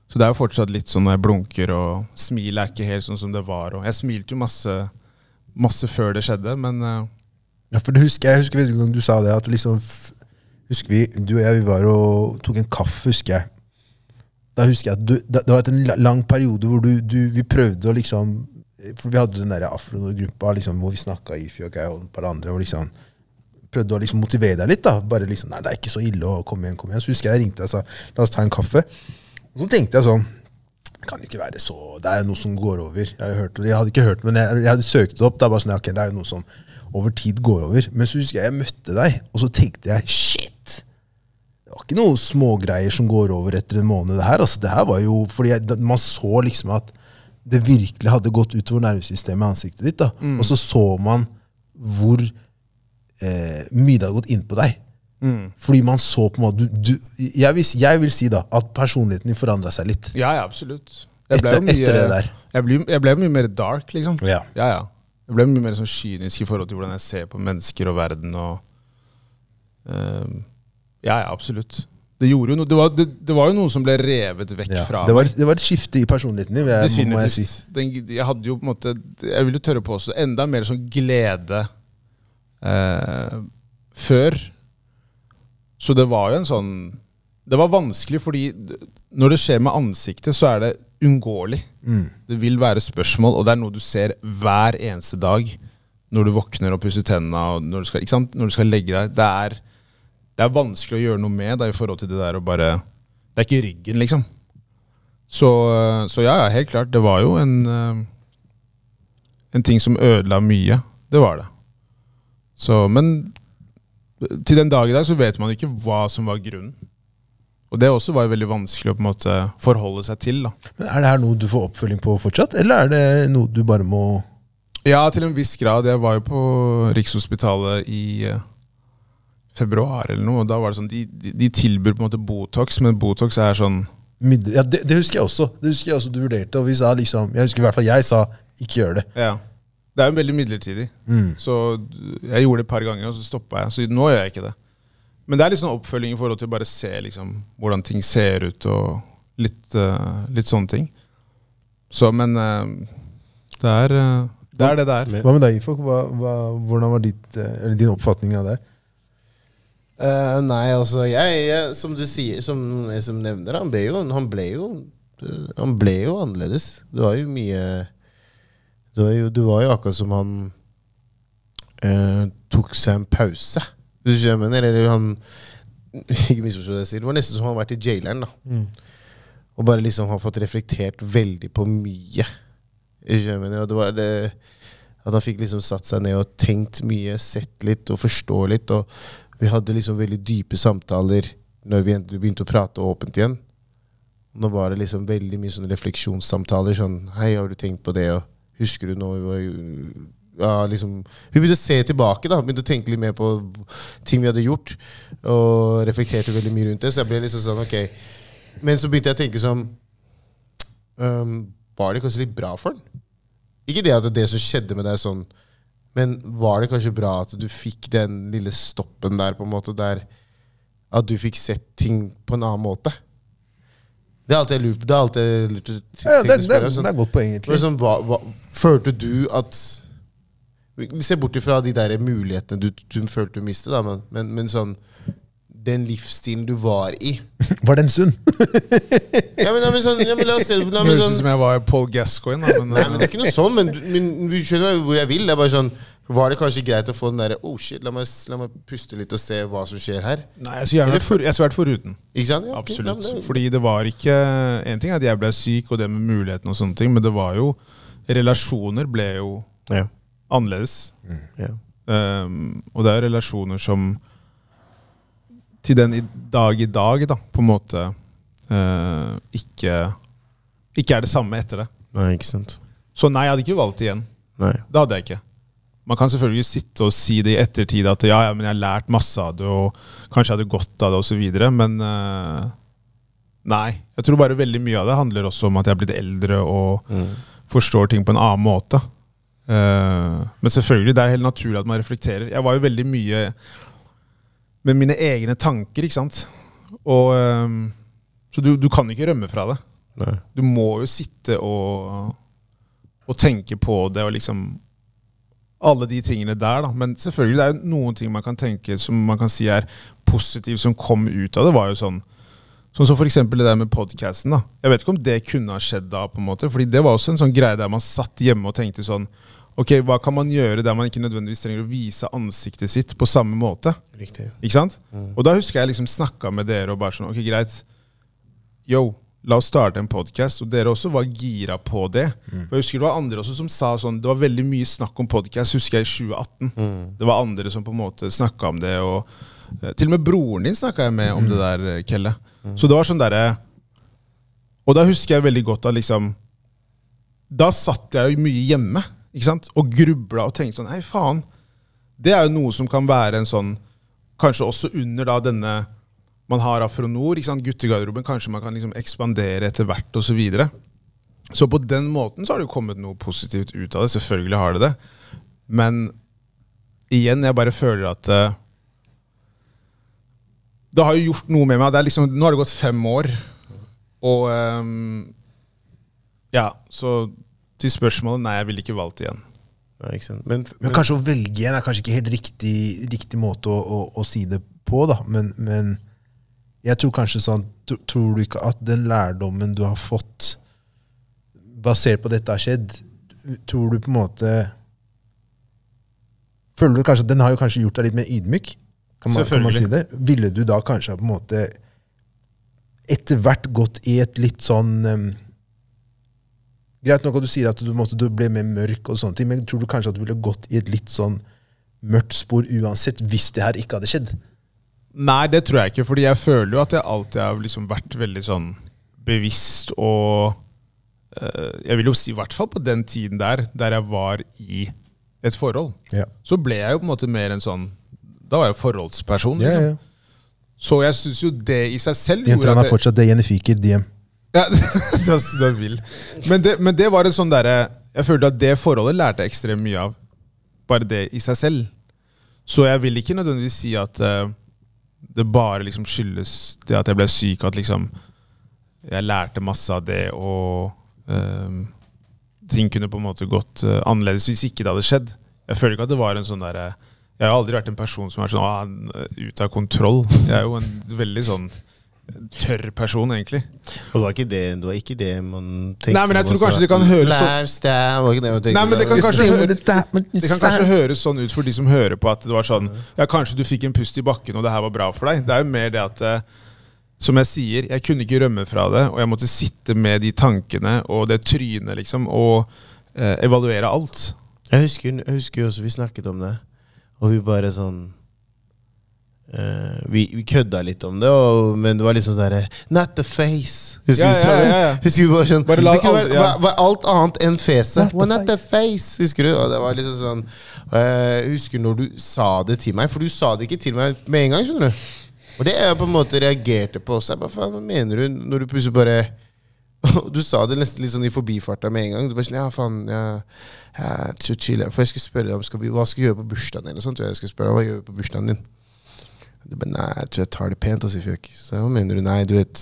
S3: så det er jo fortsatt litt sånn når jeg blunker og smilet er ikke helt sånn som det var. Og jeg smilte jo masse, masse før det skjedde, men eh,
S2: Ja, for det husker jeg, jeg husker hver gang du sa det, at liksom f- Husker vi, du og jeg, vi var og tok en kaffe, husker jeg. Da husker jeg at du, da, Det var en la- lang periode hvor du, du Vi prøvde å liksom For vi hadde den der afro-gruppa liksom, hvor vi snakka Ifi og Geir og et par andre. Og liksom prøvde å liksom motivere deg litt. da Bare liksom Nei, det er ikke så ille å komme igjen, kom igjen. Så husker jeg jeg ringte deg og sa la oss ta en kaffe. Og så tenkte jeg sånn det kan jo ikke være så Det er jo noe som går over. Jeg, har jo hørt, jeg hadde ikke hørt, men jeg, jeg hadde søkt det opp. Det er bare sånn, ja, ok, det er jo noe som over tid går over. Men så husker jeg jeg møtte deg, og så tenkte jeg shit! Det var ikke noe smågreier som går over etter en måned. det her, altså det her var jo, fordi jeg, da- Man så liksom at det virkelig hadde gått utover nervesystemet i ansiktet ditt. da, Og så så man hvor eh, mye det hadde gått inn på deg. Fordi man så på en måte du, du, jeg, vil, si- jeg vil si da at personligheten din forandra seg litt.
S3: ja, ja, absolutt.
S2: Etter- etter det der.
S3: Jeg ble, jeg ble mye mer dark, liksom.
S2: Ja.
S3: ja, ja. Jeg ble mye mer sånn kynisk i forhold til hvordan jeg ser på mennesker og verden. og eh, Ja, ja, absolutt. Det, gjorde jo noe- det, var, det, det var jo noe som ble revet vekk
S2: Ja,
S3: fra
S2: det, var, det var et skifte i personligheten din, vil jeg, må jeg si.
S3: Definitivt. Den, jeg hadde jo på en måte Jeg vil jo tørre på også enda mer sånn glede eh, før. Så det var jo en sånn Det var vanskelig, fordi d- når det skjer med ansiktet, så er det unngåelig.
S2: Mm.
S3: Det vil være spørsmål, og det er noe du ser hver eneste dag når du våkner og pusser tennene og når du skal, ikke sant? Når du skal legge deg. Det er, det er vanskelig å gjøre noe med det i forhold til det der å bare Det er ikke ryggen, liksom. Så, eh, så ja, ja, helt klart. Det var jo en, eh, en ting som ødela mye. Det var det. Så, men eh, til den dag i dag så vet man ikke hva som var grunnen. Og det også var jo veldig vanskelig å på en måte forholde seg til. da.
S2: Men Er det her noe du får oppfølging på fortsatt, eller er det noe du bare må
S3: Ja, til en viss grad. Jeg var jo på Rikshospitalet i eh, februar eller noe. og da var det sånn, De, de, de tilbyr på en måte Botox, men Botox er sånn
S2: midler- ja, det, det husker jeg også. Det husker jeg også du vurderte, og vi sa liksom Jeg husker i hvert fall jeg sa ikke gjør det.
S3: Ja. Det er jo veldig midlertidig. Så d- jeg gjorde det et par ganger, og så stoppa jeg. Så nå gjør jeg ikke det. Men det er litt sånn oppfølging i forhold til bare se liksom, hvordan ting ser ut, og litt, eh, litt sånne ting. Så, men eh, Det er eh, det er det det er.
S5: Men-
S2: Hva med deg, Ifok? Hva, hva, hvordan var ditt, eh, eller din oppfatning av det?
S1: Eh, nei, altså jeg, jeg, Som du sier, som, som nevner, han ble, jo, han ble jo Han ble jo annerledes. Det var jo mye Det var jo, det var jo akkurat som han eh, tok seg en pause. Hvis du skjønner hva jeg mener? Eller han Ikke misforstå det jeg sier. Det var nesten som han har vært i jaileren. da Og bare liksom har fått reflektert veldig på mye. Hvis du skjønner hva jeg mener? Og det var det at han fikk liksom satt seg ned og tenkt mye, sett litt og forstå litt. Og vi hadde liksom veldig dype samtaler når vi endelig begynte å prate åpent igjen. Nå var det liksom veldig mye sånne refleksjonssamtaler. Sånn 'Hei, har du tenkt på det?' og 'Husker du nå vi var jo- ja, liksom, Vi begynte å se tilbake, da. Begynte å tenke litt mer på ting vi hadde gjort. Og reflekterte veldig mye rundt det. Så jeg ble liksom sånn, ok. Men så begynte jeg å tenke sånn ehm, Var det kanskje litt bra for den? Ikke det at det som skjedde med deg sånn Men var det kanskje bra at du fikk den lille stoppen der, på en måte, der at du fikk sett ting på en annen måte? Det er alt jeg lurer på. Det er alt jeg lurer på.
S2: Ja, det,
S1: tenker å
S2: det,
S1: spørre om, sånn.
S2: det er et godt poeng,
S1: Men
S2: egentlig.
S1: liksom, hva, hva, følte du at Se bort ifra de der mulighetene du, du følte du mistet, da, men, men, men sånn Den livsstilen du var i
S2: Var den sunn?
S1: Ja, men, ja, men, sånn, ja, men la oss se la,
S3: Det
S1: men,
S3: høres ut
S1: sånn,
S3: som jeg var Paul Gascoigne. da, Men,
S1: Nei, men det er ikke noe sånn, men, du- men du skjønner hvor jeg vil. Det er bare sånn Var det kanskje greit å få den derre Oh shit, la meg, la meg puste litt og se hva som skjer her?
S3: eh, Nei, jeg skulle gjerne vært for- jeg skulle vært foruten.
S1: Ikke sant? Ja, ok, la
S3: Absolutt.
S1: meg-
S3: Fordi det var ikke En ting er at jeg ble syk, og det med mulighetene og sånne ting, men det var jo Relasjoner ble jo
S1: ja.
S3: annerledes.
S1: Ja.
S3: Um, og det er relasjoner som til den i dag i dag, da, på en måte eh, ikke Ikke er det samme etter det.
S1: Nei, ikke sant.
S3: Så nei, jeg hadde ikke valgt igjen.
S1: Nei.
S3: Det hadde jeg ikke. Man kan selvfølgelig sitte og si det i ettertid at ja, ja, men jeg har lært masse av det, og kanskje jeg hadde godt av det, osv., men eh, nei. Jeg tror bare veldig mye av det handler også om at jeg er blitt eldre og forstår ting på en annen måte. Eh, men selvfølgelig, det er helt naturlig at man reflekterer. Jeg var jo veldig mye med mine egne tanker, ikke sant. Og, eh, så du, du kan ikke rømme fra det.
S1: Nei.
S3: Du må jo sitte og, og tenke på det og liksom Alle de tingene der, da. Men selvfølgelig, det er jo noen ting man kan tenke som man kan si er positivt, som kom ut av det. var jo sånn Sånn som for eksempel det der med podcasten da. Jeg vet ikke om det kunne ha skjedd da, på en måte. Fordi det var også en sånn greie der man satt hjemme og tenkte sånn Ok, hva kan man gjøre der man ikke nødvendigvis trenger å vise ansiktet sitt på samme måte?
S1: Riktig.
S3: Ikke sant? Og da husker jeg liksom snakka med dere og bare sånn Ok, greit. Yo, la oss starte en podkast. Og dere også var gira på det. For jeg husker det var andre også som sa sånn Det var veldig mye snakk om podkast, husker jeg, i 2018. Det var andre som på en måte snakka om det, og eh, til og med broren din snakka jeg med om det der, eh, Kelle. Så det var sånn derre Og da husker jeg veldig godt at liksom Da satt jeg jo mye hjemme, ikke sant? Og grubla og tenkte sånn Hei, faen. Det er jo noe som kan være en sånn Kanskje også under da denne man har Afronor, ikke sant? guttegarderoben. Kanskje man kan liksom ekspandere etter hvert osv. Så, videre. så på den måten så har det jo kommet noe positivt ut av det. Selvfølgelig har det det. Men igjen, jeg bare føler at eh, Det har jo gjort noe med meg. Det er liksom, nå har det gått fem år, og ehm, Ja, så til spørsmålet nei, jeg ville ikke valgt igjen.
S1: Nei, ikke sant. Men,
S2: Men kanskje å velge igjen er kanskje ikke helt riktig, riktig måte å, å, å si det på, da. Men, men jeg tror kanskje sånn tr- Tror du ikke at den lærdommen du har fått basert på dette har skjedd, tror du på en måte Føler du kanskje Den har jo kanskje gjort deg litt mer ydmyk? Kan man, kan man si det? Ville du da kanskje ha på en måte etter hvert gått i et litt sånn um, Greit nok at du sier at du, måtte, du ble mer mørk, og sånne ting, men tror du kanskje at du ville gått i et litt sånn mørkt spor uansett, hvis det her ikke hadde skjedd?
S3: Nei, det tror jeg ikke, fordi jeg føler jo at jeg alltid har liksom vært veldig sånn bevisst og eh, Jeg vil jo si i hvert fall på den tiden der, der jeg var i et forhold,
S2: Ja.
S3: så ble jeg jo på en måte mer en sånn Da var jeg jo forholdsperson.
S2: Ja,
S3: Liksom.
S2: ja.
S3: Så jeg syns jo det i seg selv
S2: Jenter
S3: gjorde
S2: han
S3: at
S2: er
S3: jeg-
S2: fortsatt det Jenny Fiker, DM.
S3: ja, du er, du er vill. Men det, men det var en sånn derre Jeg følte at det forholdet lærte jeg ekstremt mye av. Bare det i seg selv. Så jeg vil ikke nødvendigvis si at eh, det bare liksom skyldes det at jeg ble syk, at liksom jeg lærte masse av det og eh, ting kunne på en måte gått eh, annerledes hvis ikke det hadde skjedd. Jeg føler ikke at det var en sånn derre Jeg har aldri vært en person som er sånn ah, han er ute av kontroll. Jeg er jo en veldig sånn tørr person, egentlig.
S1: Og det var ikke det, det, var ikke det man tenkte
S3: Nei, men jeg
S1: på
S3: tror
S1: også.
S3: kanskje det kan høres så-
S1: Lifestyle, var ikke det man tenkte
S3: Nei, men det
S1: på?
S3: kan kanskje
S2: Same
S3: høre-
S2: with that, but
S3: Det kan kanskje høres sånn ut for de som hører på, at det var sånn Ja, kanskje du fikk en pust i bakken, og det her var bra for deg. Det er jo mer det at eh, Som jeg sier, jeg kunne ikke rømme fra det, og jeg måtte sitte med de tankene og det trynet, liksom, og eh, evaluere alt.
S1: Jeg husker, jeg husker jo også vi snakket om det, og vi bare sånn eh, vi, vi kødda litt om det, og, men det var liksom sånn derre Not the face. Husker
S3: Ja,
S1: vi sa
S3: ja,
S1: det?
S3: ja, ja.
S1: Husker vi bare sånn
S3: Bare la
S1: det kunne
S3: alt-
S1: være-
S3: ja.
S1: var, var alt annet enn fjeset. Not, not the face. Husker du? Og det var liksom sånn eh, Husker når du sa det til meg, for du sa det ikke til meg med en gang, skjønner du. Og det jeg på en måte reagerte på også. Jeg bare, faen, hva mener du når du plutselig bare Du sa det nesten litt sånn i forbifarta med en gang. Du bare sånn, ja, faen, ja, ja, chill, chill. For jeg skulle spørre deg om skal vi, hva skal vi gjøre på bursdagen din. Og sånt, tror jeg jeg skulle spørre deg, hva gjør vi på bursdagen din. Du bare, nei, jeg tror jeg tar det pent, ass, i fjøk. Så jeg, hva mener du? Nei, du vet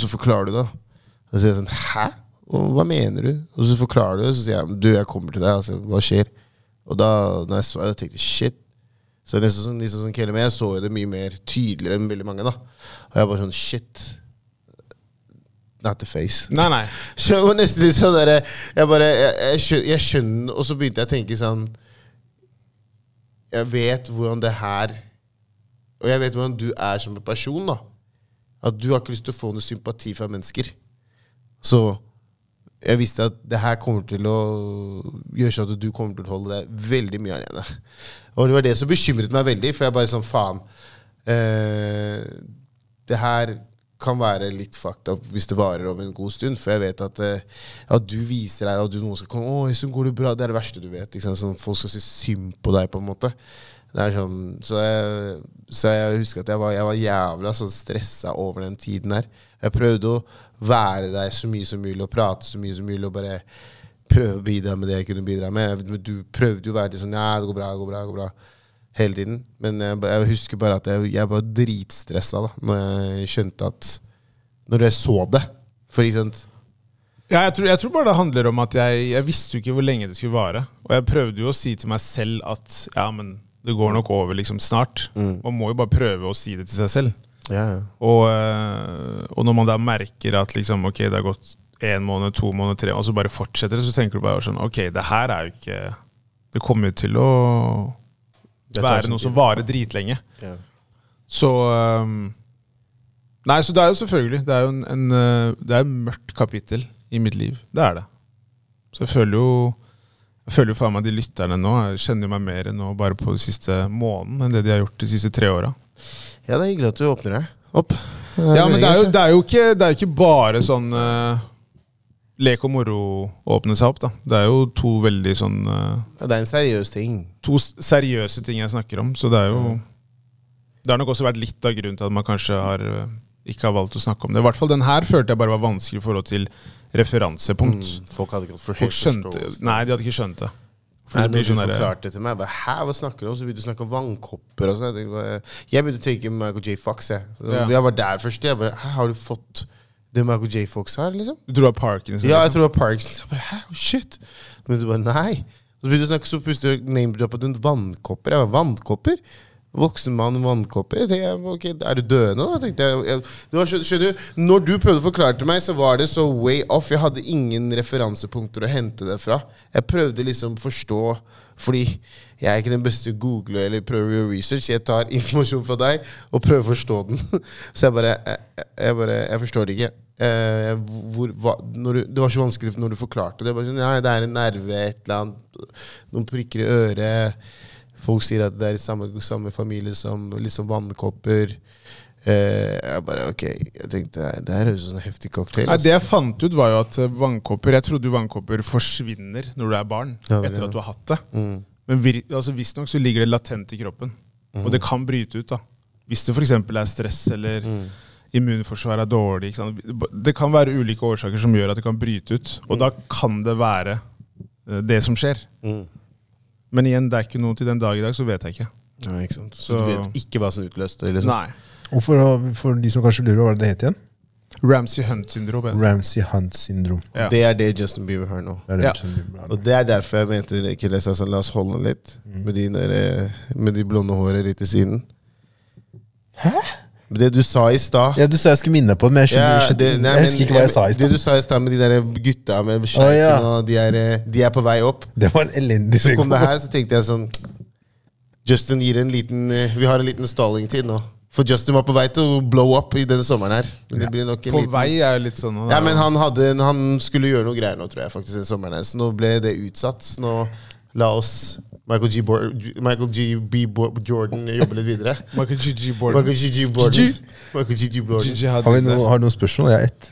S1: Så forklarer du det. Og så sier jeg sånn, hæ? Og hva mener du? Og så forklarer du det, så sier jeg, du, jeg kommer til deg, altså, hva skjer? Og da, når jeg så det, tenkte jeg, shit. Så det er nesten sånn, liksom sånn Kelly, men jeg så jo det mye mer tydeligere enn veldig mange, da. Og jeg bare sånn, shit. Not the face.
S3: Nei, nei.
S1: Så jeg var nesten litt sånn derre Jeg bare jeg, jeg, skjønner, jeg skjønner, og så begynte jeg å tenke sånn Jeg vet hvordan det her Og jeg vet hvordan du er som en person, da. At du har ikke lyst til å få noe sympati fra mennesker. Så jeg visste at det her kommer til å gjøre sånn at du kommer til å holde deg veldig mye alene. Og det var det som bekymret meg veldig, for jeg bare sånn faen. Eh, det her kan være litt fucked up hvis det varer over en god stund, for jeg vet at, eh, at du viser deg, og du noen skal komme 'Å, Øystein, går det bra?' Det er det verste du vet. Ikke sant? Sånn, folk skal si synd på deg, på en måte. Det er sånn, så, jeg, så jeg husker at jeg var, jeg var jævla sånn stressa over den tiden her. Jeg prøvde å være der så mye som mulig og prate så mye som mulig og bare prøve å bidra med det jeg kunne bidra med. Men Du prøvde jo å være litt sånn Ja, det går bra, det går bra. det går bra Hele tiden. Men jeg, ba- jeg husker bare at jeg, jeg var dritstressa da Når jeg skjønte at Når jeg så det. For ikke sant
S3: Ja, jeg, tror, jeg tror bare det handler om at jeg, jeg visste jo ikke hvor lenge det skulle vare. Og jeg prøvde jo å si til meg selv at ja, men det går nok over liksom snart. Man må jo bare prøve å si det til seg selv.
S1: ja, ja.
S3: Og, eh, og når man da merker at liksom, ok, det har gått én måned, to måneder, tre, og så bare fortsetter det, så tenker du bare sånn Ok, det her er jo ikke Det kommer jo til å
S1: Det tar
S3: være
S1: sin
S3: noe som
S1: tid.
S3: varer dritlenge.
S1: Ja.
S3: Så eh, Nei, så det er jo selvfølgelig Det er jo en, en, eh, det er et mørkt kapittel i mitt liv. Det er det. Så jeg føler jo jeg føler jo faen meg de lytterne nå jeg kjenner jo meg mer nå bare på den siste måneden enn det de har gjort de siste tre åra.
S1: ja, det er hyggelig at du åpner deg opp.
S3: Ja, men det er jo, det er jo ikke, det er jo ikke bare sånn eh, lek og moro å åpne seg opp, da. Det er jo to veldig sånn eh,
S1: Ja, det er en seriøs ting.
S3: To s- seriøse ting jeg snakker om, så det er
S1: Mm.
S3: jo Det har nok også vært litt av grunnen til at man kanskje har eh, ikke har valgt å snakke om det. I hvert fall den her følte jeg bare var vanskelig i forhold til referansepunkt.
S1: Folk hadde ikke fått for høy
S3: Folk skjønte
S1: Mm. forståelse.
S3: Nei, de hadde ikke skjønt det. For
S1: Nei,
S3: det blir
S1: når du
S3: sånn derre-
S1: forklarte det til meg, jeg bare, Hæ, hva snakker du om? Så begynte du å snakke om vannkopper og sånn. Jeg tenkte bare- Jeg begynte å tenke Michael J. Fox, jeg. Så
S3: Ja.
S1: Jeg var der først. Jeg bare, Hæ, har du fått det Michael J. Fox har, liksom?
S3: Du tror det var Parkinson?
S1: Ja, jeg
S3: liksom?
S1: tror det var Parks. Jeg bare, hæ, shit Men du bare, nei Så begynte jeg å snakke, så plutselig name-droppet hun vannkopper Jeg var vannkopper? Voksen mann, vannkopper Jeg tenkte, jeg, ok, er du døende da? Tenkte jeg, jeg, det var, skjø- skjønner du, når du prøvde å forklare til meg Så var det så way off Jeg hadde ingen referansepunkter å hente det fra Jeg prøvde liksom å forstå Fordi jeg er ikke den beste googler Eller prøver å gjøre research Jeg tar informasjon fra deg og prøver å forstå den Så jeg bare, jeg, jeg- jeg bare, jeg forstår det ikke Eh, hvor, hva, når du, det var så vanskelig når du forklarte det. Bare sånn, nei, det er en nerve, et eller annet. Noen prikker i øret. Folk sier at det er i samme, samme familie som liksom vannkopper. Eh, jeg bare ok, jeg tenkte nei, det her høres ut som en heftig cocktail.
S3: Nei,
S1: ass.
S3: Det jeg fant ut, var jo at eh, vannkopper Jeg trodde jo vannkopper forsvinner når du er barn.
S1: Ja,
S3: etter
S1: ja.
S3: at du har hatt det.
S1: Mm.
S3: Men vir- altså, visstnok så ligger det latent i kroppen.
S1: Mm.
S3: Og det kan bryte ut. da Hvis det f.eks. er stress eller
S1: Mm.
S3: immunforsvaret er dårlig. Ikke sant? Det kan være ulike årsaker som gjør at det kan bryte ut. Og da kan det være eh, det som skjer.
S1: Mm.
S3: Men igjen, det er ikke noe til den dag i dag, så vet jeg ikke.
S1: Ja, ikke sant? Så,
S3: Så-
S1: du vet ikke hva som utløste det? Liksom.
S3: Nei.
S2: Og for, å- for de som kanskje lurer, hva var det det het igjen?
S3: Ramsey Hunt-syndrom. heter det.
S2: Ramsey Hunt syndrom.
S3: Ja.
S1: Det er det Justin Bieber har nå.
S2: Det er
S3: Ja.
S2: Ramsey Hunt
S1: Og det er derfor jeg mente det, Kille, sa sånn, la oss holde litt med, de der, eh, med de blonde håret litt i siden. Hæ? Det du sa i stad
S2: Ja, du sa jeg skulle minne på det, men jeg, skjønner,
S1: Ja,
S2: skjønner-
S1: det- nei,
S2: jeg
S1: men-
S2: husker ikke hva jeg sa i
S1: Det
S2: stad.
S1: du sa i stad med de der gutta med
S2: Å,
S1: skjenken
S2: ja.
S1: og de er, eh, de er på vei opp.
S2: Det var en elendig
S1: Så kom
S2: sekund.
S1: det her, så tenkte jeg sånn Justin gir en liten eh, Vi har en liten stallingtid nå. For Justin var på vei til å blow up i denne sommeren her. Men det blir nok en
S3: På
S1: liten
S3: vei er litt sånn
S1: Ja, men han, hadde, han skulle gjøre noe greier nå, tror jeg, faktisk, den sommeren. her. Så nå ble det utsatt. Så nå la oss Michael G. Bor Michael G. B. Bo Jordan jobbe litt videre.
S3: Michael Gigi Borden.
S1: Michael G. G. Borden. Michael G. G. Borden.
S3: Gigi hadde
S2: Har vi
S3: det.
S2: noe, har du noen spørsmål? Jeg har ett.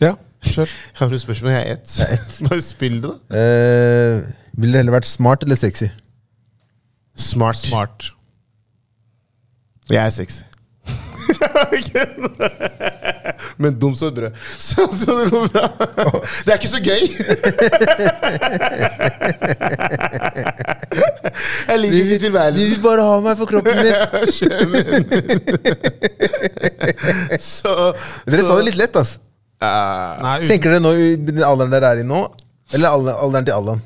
S3: Ja, kjør.
S1: Har du noen spørsmål? Jeg er ett. Bare spill det, da.
S2: Eh, ville det heller vært smart eller sexy?
S1: Smart.
S3: Smart.
S1: Jeg er sexy. Men dum som et brød. Så jeg tror det går bra. Det er ikke så gøy! Jeg liker ikke tilværelsen.
S2: vil bare ha meg for kroppen din.
S1: Så,
S2: Dere
S1: så-
S2: sa det litt lett, ass.
S3: Nei, uten-
S2: Senker dere nå i den alderen dere er i nå? Eller alder- alderen til Allan?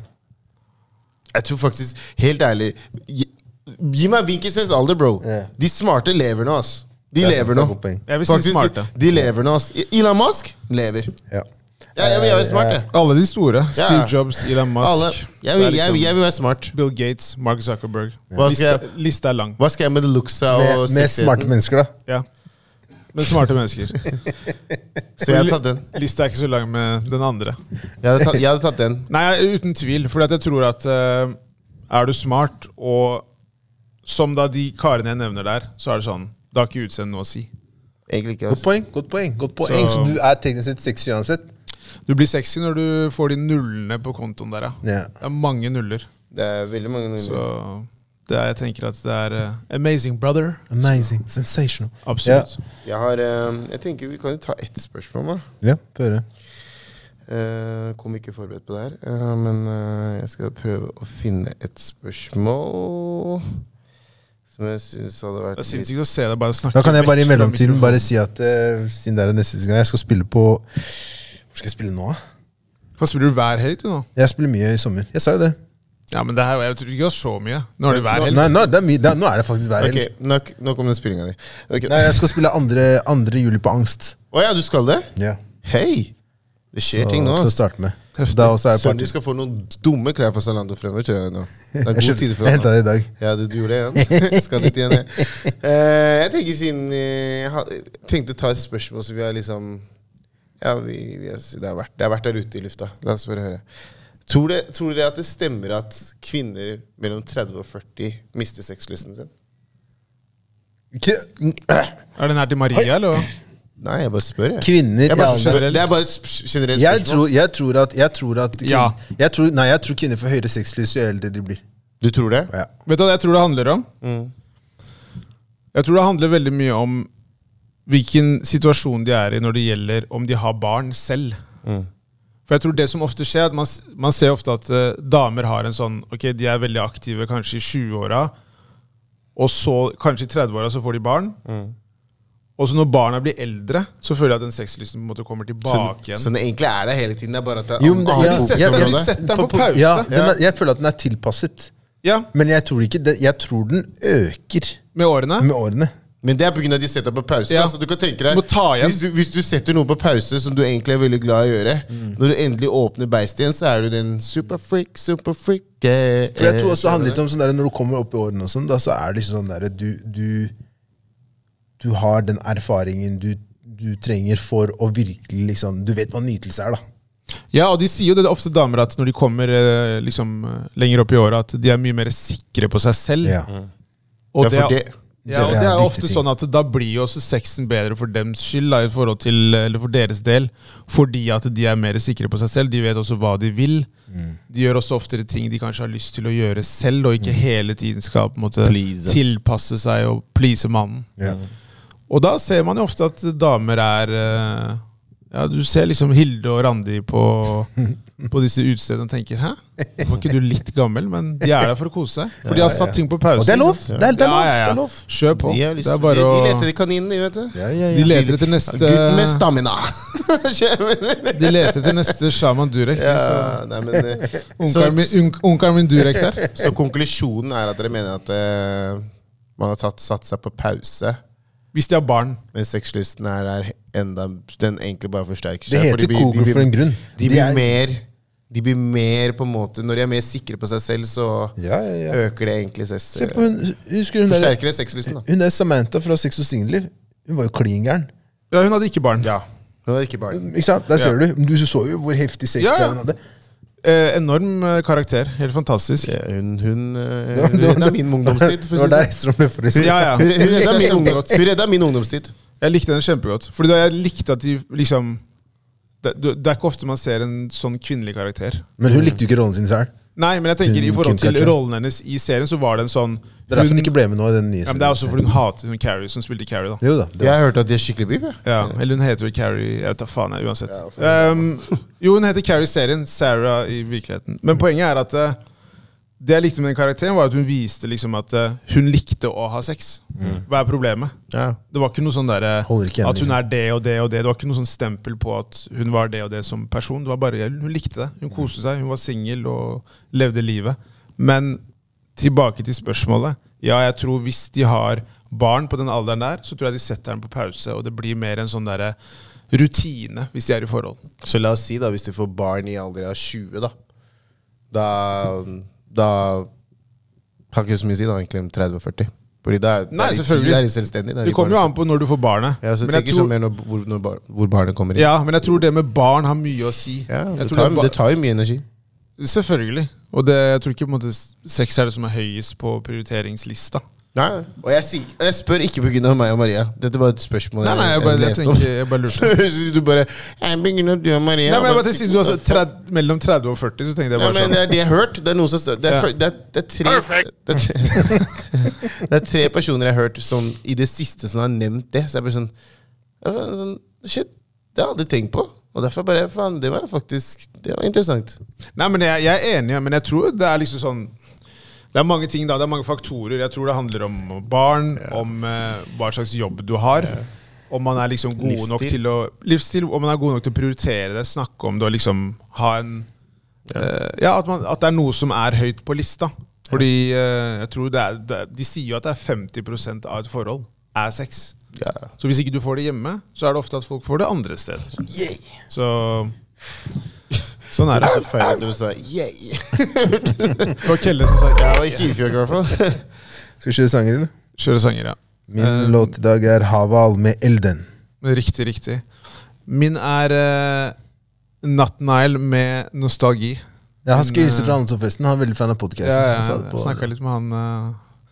S1: Jeg tror faktisk, helt ærlig Gi, gi meg Vinkelsnes alder, bro.
S2: Ja.
S1: De smarte lever nå, ass.
S2: Det
S1: De
S2: er sant,
S1: lever
S2: det
S1: nå.
S2: er godt poeng.
S3: Jeg vil si
S1: Faktisk,
S3: smarte.
S1: De, de lever nå, ass. Elon Musk lever.
S2: Ja.
S1: Ja, jeg, vil- jeg er smart, jeg.
S3: Alle de store. Steve
S1: Ja.
S3: Jobs, Elon Musk.
S1: Alle. Jeg
S3: Det er
S1: vil, jeg,
S3: liksom
S1: vil- jeg vil være smart.
S3: Bill Gates, Mark Zuckerberg.
S1: Hva skal
S3: Lista,
S1: jeg-
S3: lista er lang.
S1: Hva skal jeg med det looksa og
S2: Med, med smarte mennesker, da.
S3: Ja. Men smarte mennesker.
S1: Så jeg hadde tatt den.
S3: Lista er ikke så lang med den andre.
S1: Jeg hadde tatt, jeg hadde tatt den.
S3: Nei, uten tvil. For jeg tror at eh, er du smart, og som da de karene jeg nevner der, så er det sånn Det har ikke utseendet noe å si.
S1: Egentlig ikke,
S2: Godt
S1: ass.
S2: poeng. godt poeng, godt poeng. Så,
S3: Så-
S2: du er teknisk sett sexy uansett?
S3: Du blir sexy når du får de nullene på kontoen der, ja.
S2: Ja.
S3: Det er mange nuller.
S1: Det er veldig mange
S3: Så det er, jeg tenker at det er eh, amazing, brother.
S2: Amazing. Sensational.
S3: Absolutt.
S1: Jeg har eh, Jeg tenker vi kan jo ta ett spørsmål, da.
S2: Ja, få høre.
S1: Eh, kom ikke forberedt på det her, eh, men eh, jeg skal prøve å finne et spørsmål som jeg syns hadde vært
S3: Det er sinnssykt å se deg bare snakke.
S2: Da kan jeg bare i
S3: vekk fra
S2: mellomtiden
S3: mikrofonen.
S2: bare si at eh, siden det er neste gang jeg skal spille på Hvor skal jeg spille nå, da?
S3: Hva spiller du hver helg, du nå?
S2: Jeg spiller mye i sommer. Jeg sa jo det.
S3: Ja, men det her, jeg tror ikke det var så mye. Nå er det hver helg.
S2: Nei, nå, det er mye, det er, nå er det faktisk hver helg.
S1: Ok, nok, nok om den spillinga di. Ok.
S2: Nei, jeg skal spille andre, andre juli på Angst.
S1: Å ja, du skal det?
S2: Ja.
S1: Hei! Det skjer ting nå.
S2: Til å
S1: ass.
S2: starte med.
S3: Heftig.
S2: Da også er det
S1: Søndag
S2: party.
S1: skal få noen dumme klær fra Zalando fremover. Tror jeg, nå. Det er
S2: Jeg,
S1: gode
S2: kjøpte-
S1: tider for
S2: jeg henta
S1: han.
S2: det i dag.
S1: Ja, du, du gjorde det igjen. skal litt igjen, jeg. Eh, jeg tenker siden eh, Jeg ha- tenkte å ta et spørsmål så vi har liksom Ja, vi, vi har, det, har vært, det har vært der ute i lufta. La oss bare høre. Tror, det, tror dere at det stemmer at kvinner mellom 30 og 40 mister sexlysten sin?
S2: K-
S3: Er den her til Maria, eller? hva?
S1: Nei, jeg bare spør, jeg.
S2: Kvinner
S1: jeg bare,
S2: i
S1: spør,
S2: alderen-
S3: generelt.
S1: det er bare et sp- generelt
S2: jeg
S1: spørsmål.
S2: tror, jeg tror at, jeg tror at kvin-
S3: Ja.
S2: jeg tror, Nei, jeg tror kvinner får høyere sexlyst jo eldre de blir.
S1: Du tror det?
S2: Ja.
S3: Vet du hva jeg tror det handler om? Jeg tror det handler veldig mye om hvilken situasjon de er i når det gjelder om de har barn selv. For jeg tror det som ofte skjer, at man, s- man ser ofte at eh, damer har en sånn Ok, de er veldig aktive kanskje i 20-åra, og så kanskje i 30-åra så får de barn. Og så når barna blir eldre, så føler jeg at den sexlysten på en måte kommer tilbake igjen.
S1: Så den Sånn- egentlig er der hele tiden. Det er bare at det er
S2: Jo, men det-
S1: annet
S2: ja,
S1: sett-
S2: jeg-
S1: område.
S2: jeg-
S3: Du setter den på pause.
S2: Ja, den er, jeg føler at den er tilpasset.
S3: Ja,
S2: Men jeg tror ikke det, jeg tror den øker
S3: med årene.
S2: med årene.
S1: Men det er pga. at de setter på pause.
S3: Ja.
S1: Altså, du kan tenke deg,
S3: Du må ta igjen.
S1: hvis, du, hvis du setter noe på pause som du egentlig er veldig glad i å gjøre,
S3: Mm.
S1: når du endelig åpner beistet igjen, så er du den superfreak, superfreak eh,
S2: For jeg tror også det
S1: eh,
S2: handler litt om sånn der, Når du kommer opp i årene, og sånn, da, så er det liksom sånn der, du, du, du har den erfaringen du, du trenger for å virkelig liksom, Du vet hva nytelse er, da.
S3: Ja, og de sier jo det, det er ofte damer at når de kommer eh, liksom, eh, lenger opp i åra, at de er mye mer sikre på seg selv.
S2: Ja.
S3: Og
S1: Ja,
S3: det
S1: for
S3: er,
S1: det-
S3: ja, og
S2: det er
S3: det er
S2: viktig
S3: ofte
S2: ting.
S3: sånn at da blir jo også sexen bedre for dems skyld, da, i forhold til, eller for deres del, fordi at de er mer sikre på seg selv. De vet også hva de vil.
S2: Mm.
S3: De gjør også oftere ting de kanskje har lyst til å gjøre selv, og ikke hele tiden skal på en måte
S4: Please.
S3: tilpasse seg og please mannen.
S2: Ja.
S3: Og da ser man jo ofte at damer er eh, Ja, Du ser liksom Hilde og Randi på, på disse utestedene og tenker 'hæ, var ikke du litt gammel?' Men de er der for å kose seg. For de har satt ting på pause.
S2: Og det er lov! Det er, det er lov! Det er lov.
S3: Kjør på.
S1: De, har lyst,
S3: det er bare
S1: de,
S3: å
S1: de leter etter kaninene, vet du.
S2: Ja, ja,
S3: De
S2: ja.
S3: leter etter neste
S1: Gutt med stamina! Kjører.
S3: De leter etter neste Shaman Durek.
S1: ja,
S3: så-
S1: nei, men, eh,
S3: Onkelen min, unk- onkelen min Durek der.
S1: så konklusjonen er at dere mener at eh, man har tatt, satt seg på pause,
S3: Hvis de har barn.
S1: men sexlysten er der enda Den egentlig bare forsterker
S2: Det
S1: seg. for de
S2: heter
S1: blir- de
S2: Kogel
S1: blir-
S2: for en grunn.
S1: De
S2: De
S1: blir
S2: er-
S1: mer De blir mer på en måte Når de er mer sikre på seg selv, så
S2: Ja, ja, ja.
S1: øker det egentlig sex...
S2: Se på hun, husker hun der,
S1: Forsterker det sexlysten, da.
S2: hun der Samantha fra Sex og singelliv. Hun var jo klin gæren.
S3: Ja, hun hadde ikke barn.
S1: Ja. Hun er ikke barn.
S2: Ikke sant? Der ser du. Du så jo hvor heftig sex
S3: Ja, ja.
S2: hun hadde.
S3: Eh, enorm eh, karakter. Helt fantastisk.
S1: Ja, Hun, hun, eh,
S2: Det var- det var-
S1: hun er min ungdomstid.
S2: Det var
S1: å si sånn.
S2: der Estrom ble forelsket.
S3: Ja, ja.
S1: Hun, hun, redda
S3: Jeg
S1: min
S3: skjønner
S1: ungdom,
S3: godt.
S1: hun redda min ungdomstid.
S3: Jeg likte den kjempegodt. Fordi da jeg likte at de liksom det, det det er ikke ofte man ser en sånn kvinnelig karakter.
S2: Men hun likte jo ikke rollen sin selv
S3: Nei, men jeg tenker i
S2: Hun Kim
S3: forhold til
S2: Kardashian.
S3: rollen hennes i serien, så var det en sånn
S2: Det er derfor hun
S3: hun-
S2: ikke ble med nå. i den nye
S3: ja, men det er også fordi
S2: serien.
S3: hun hatet hun Carrie, som spilte Carrie. da
S2: Jo da. Det
S1: Jeg hørte at de er skikkelig beef. jeg.
S3: Ja, Eh, Eller hun heter vel Carrie Jeg vet da faen, jeg, uansett. Ehm, jo, hun heter Carrie i serien, Sarah i virkeligheten. Men poenget er at eh, det jeg likte med den karakteren, var at hun viste liksom at eh, hun likte å ha sex. Hva er problemet? Det var ikke noe sånn derre
S2: Holder ikke
S3: at hun
S2: endringen.
S3: er det og det og det. Det var ikke noe sånn stempel på at hun var det og det som person. Det var bare Hun likte det. Hun koste seg. Hun var singel og levde livet. Men tilbake til spørsmålet. Ja, jeg tror hvis de har barn på den alderen der, så tror jeg de setter den på pause, og det blir mer en sånn derre rutine hvis de er i forhold.
S1: Så la oss si, da, hvis du får barn i alder av 20, da Da, da har ikke så mye å si, da, egentlig, om 30 og 40. Fordi da er,
S3: Nei,
S1: da er de-
S3: selvfølgelig.
S1: Da er de selvstendige. da er
S3: Det
S1: de
S3: kommer jo
S1: barn-
S3: an på når du får barnet.
S1: ja, så
S3: men, jeg
S1: tenker sånn
S3: tror,
S1: mer når, hvor, når, bar- hvor barnet kommer inn.
S3: ja, men jeg tror det med barn har mye å si.
S1: Ja,
S3: jeg
S1: det,
S3: tror
S1: tar,
S3: det ba-
S1: det tar jo mye energi.
S3: Selvfølgelig. Og det, jeg tror ikke på en måte sex er det som er høyest på prioriteringslista.
S1: Nei, og jeg, sier, jeg spør ikke pga. meg og Maria. Dette var et spørsmål
S3: Nei, nei, jeg bare, jeg tenker, jeg bare lurte.
S1: du bare Jeg begynner du og Maria.
S3: Nei, men jeg bare sier, du, altså, 30, Mellom 30 og 40, så tenkte jeg
S1: Ja,
S3: bare
S1: men det
S3: sånn.
S1: er det jeg har hørt. Det er noen som stø- Det er,
S3: Ja.
S1: fø- det er, det er, tre, det, er tre, det er tre personer jeg har hørt som i det siste som har nevnt det. Så jeg blir sånn, jeg blir sånn Shit, det har jeg aldri tenkt på. Og derfor bare Faen, det var faktisk Det var interessant.
S3: Nei, men jeg, jeg er enig, men jeg tror det er liksom sånn Det er mange ting da, det er mange faktorer. Jeg tror det handler om barn, om eh, hva slags jobb du har. Om man er liksom god nok
S1: Livsstil.
S3: til å Livsstil, om man er god nok til å prioritere det, snakke om det og liksom ha en eh, Ja, at, man, at det er noe som er høyt på lista. Fordi eh, jeg tror det er, det, er- De sier jo at det er 50 av et forhold er sex.
S1: Ja.
S3: Så hvis ikke du får det hjemme, så er det ofte at folk får det andre steder. Så sånn er
S1: Det
S3: det.
S1: var så feil at du sa yeah.
S3: Det var Kelle som sa
S1: Ja, det var ikke ifjøk, i hvert fall.
S2: Skal vi kjøre sanger, eller?
S3: Kjøre sanger, ja.
S2: Min låt i dag er Haval med Elden.
S3: Riktig, riktig. Min er uh, Nat Nile med nostalgi.
S2: Ja, han skulle hilse fra Andersson-festen. Han er veldig fan av podkasten.
S3: Ja, ja, jeg snakka litt med han. eh,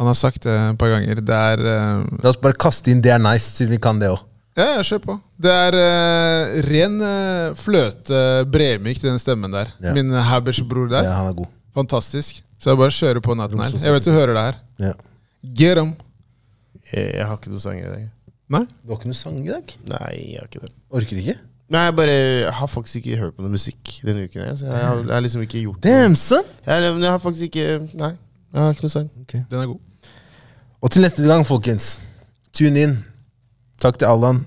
S3: han har sagt det et par ganger. Det er eh,
S2: La oss bare kaste inn Det er nice, siden vi kan det òg.
S3: Ja, ja, kjør på. Det er eh, ren eh, fløte Bremyk, den stemmen der.
S2: Ja.
S3: Min Habers-bror der.
S2: Ja, han er god.
S3: Fantastisk. Så jeg bare kjører på Nat Nile. Jeg vet du hører det her.
S2: Ja.
S3: Get 'em.
S1: Eh, Jeg, jeg har ikke noen sanger i dag.
S3: Nei?
S2: Du har ikke noen sang i dag?
S1: Nei, jeg har ikke det.
S2: Orker ikke?
S1: Nei, jeg bare jeg har faktisk ikke hørt på noe musikk denne uken. her, Så jeg har, jeg har liksom ikke gjort det.
S2: Damn, son!
S1: Jeg, jeg har faktisk ikke Nei, jeg har ikke noen sang.
S3: Den er god.
S2: Og til neste gang, folkens. Tune inn. Takk til Allan.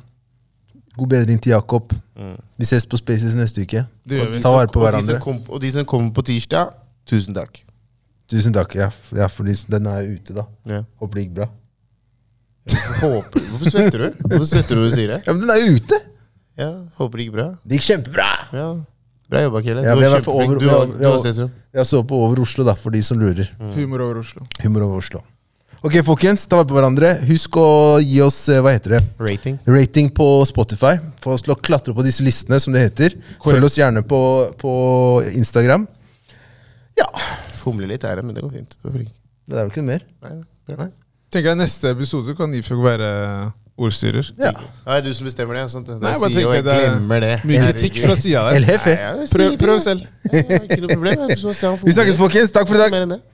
S2: God bedring til Jakob. Vi ses på Spaces neste uke.
S3: Det gjør vi.
S2: Ta vare på
S1: Og de som
S2: hverandre.
S1: kom- Og de som kommer på tirsdag, tusen takk.
S2: Tusen takk. Ja, f- ja for de- den er ute, da.
S1: Ja.
S2: Håper det gikk bra.
S1: Håper, hvorfor svetter du? Hvorfor svetter du når du sier det?
S2: Ja, men den er jo ute!
S1: Ja, Håper det gikk bra.
S2: Det gikk kjempebra!
S1: Ja. Bra jobba, Kelle.
S2: Ja,
S1: du
S2: vi
S1: var
S2: er i hvert fall
S1: kjempeflink.
S2: over-
S1: Du
S2: vi er-
S1: var-
S2: vi er
S1: du var
S2: over-
S1: sesrom.
S2: Jeg så på Over Oslo, da, for de som lurer.
S3: Humor over Oslo.
S2: Humor over Oslo. Ok, folkens. Ta vare på hverandre. Husk å gi oss eh, hva heter det?
S1: Rating.
S2: rating på Spotify. Få oss til å klatre på disse listene, som det heter. Følg oss gjerne på, på Instagram. Ja.
S1: Fomler litt her, men det går fint. Du var flink.
S2: Det er vel ikke noe mer.
S1: Nei, bra.
S3: Tenker jeg neste episode kan Ifjok være ordstyrer.
S2: Ja.
S1: Nei, det er du som bestemmer det. Sant? Det
S3: Nei,
S1: jeg
S3: bare
S1: sier, og jeg
S3: tenker det er
S1: glemmer det.
S3: Mye kritikk fra sida der.
S2: LHF.
S1: Herregud. Nei, jeg sier
S3: Prøv,
S1: det.
S3: prøv selv.
S1: Ja, Ikke noe problem. Jeg er som å se han
S2: E. Vi snakkes, folkens. Takk for i dag.
S1: Mer enn det.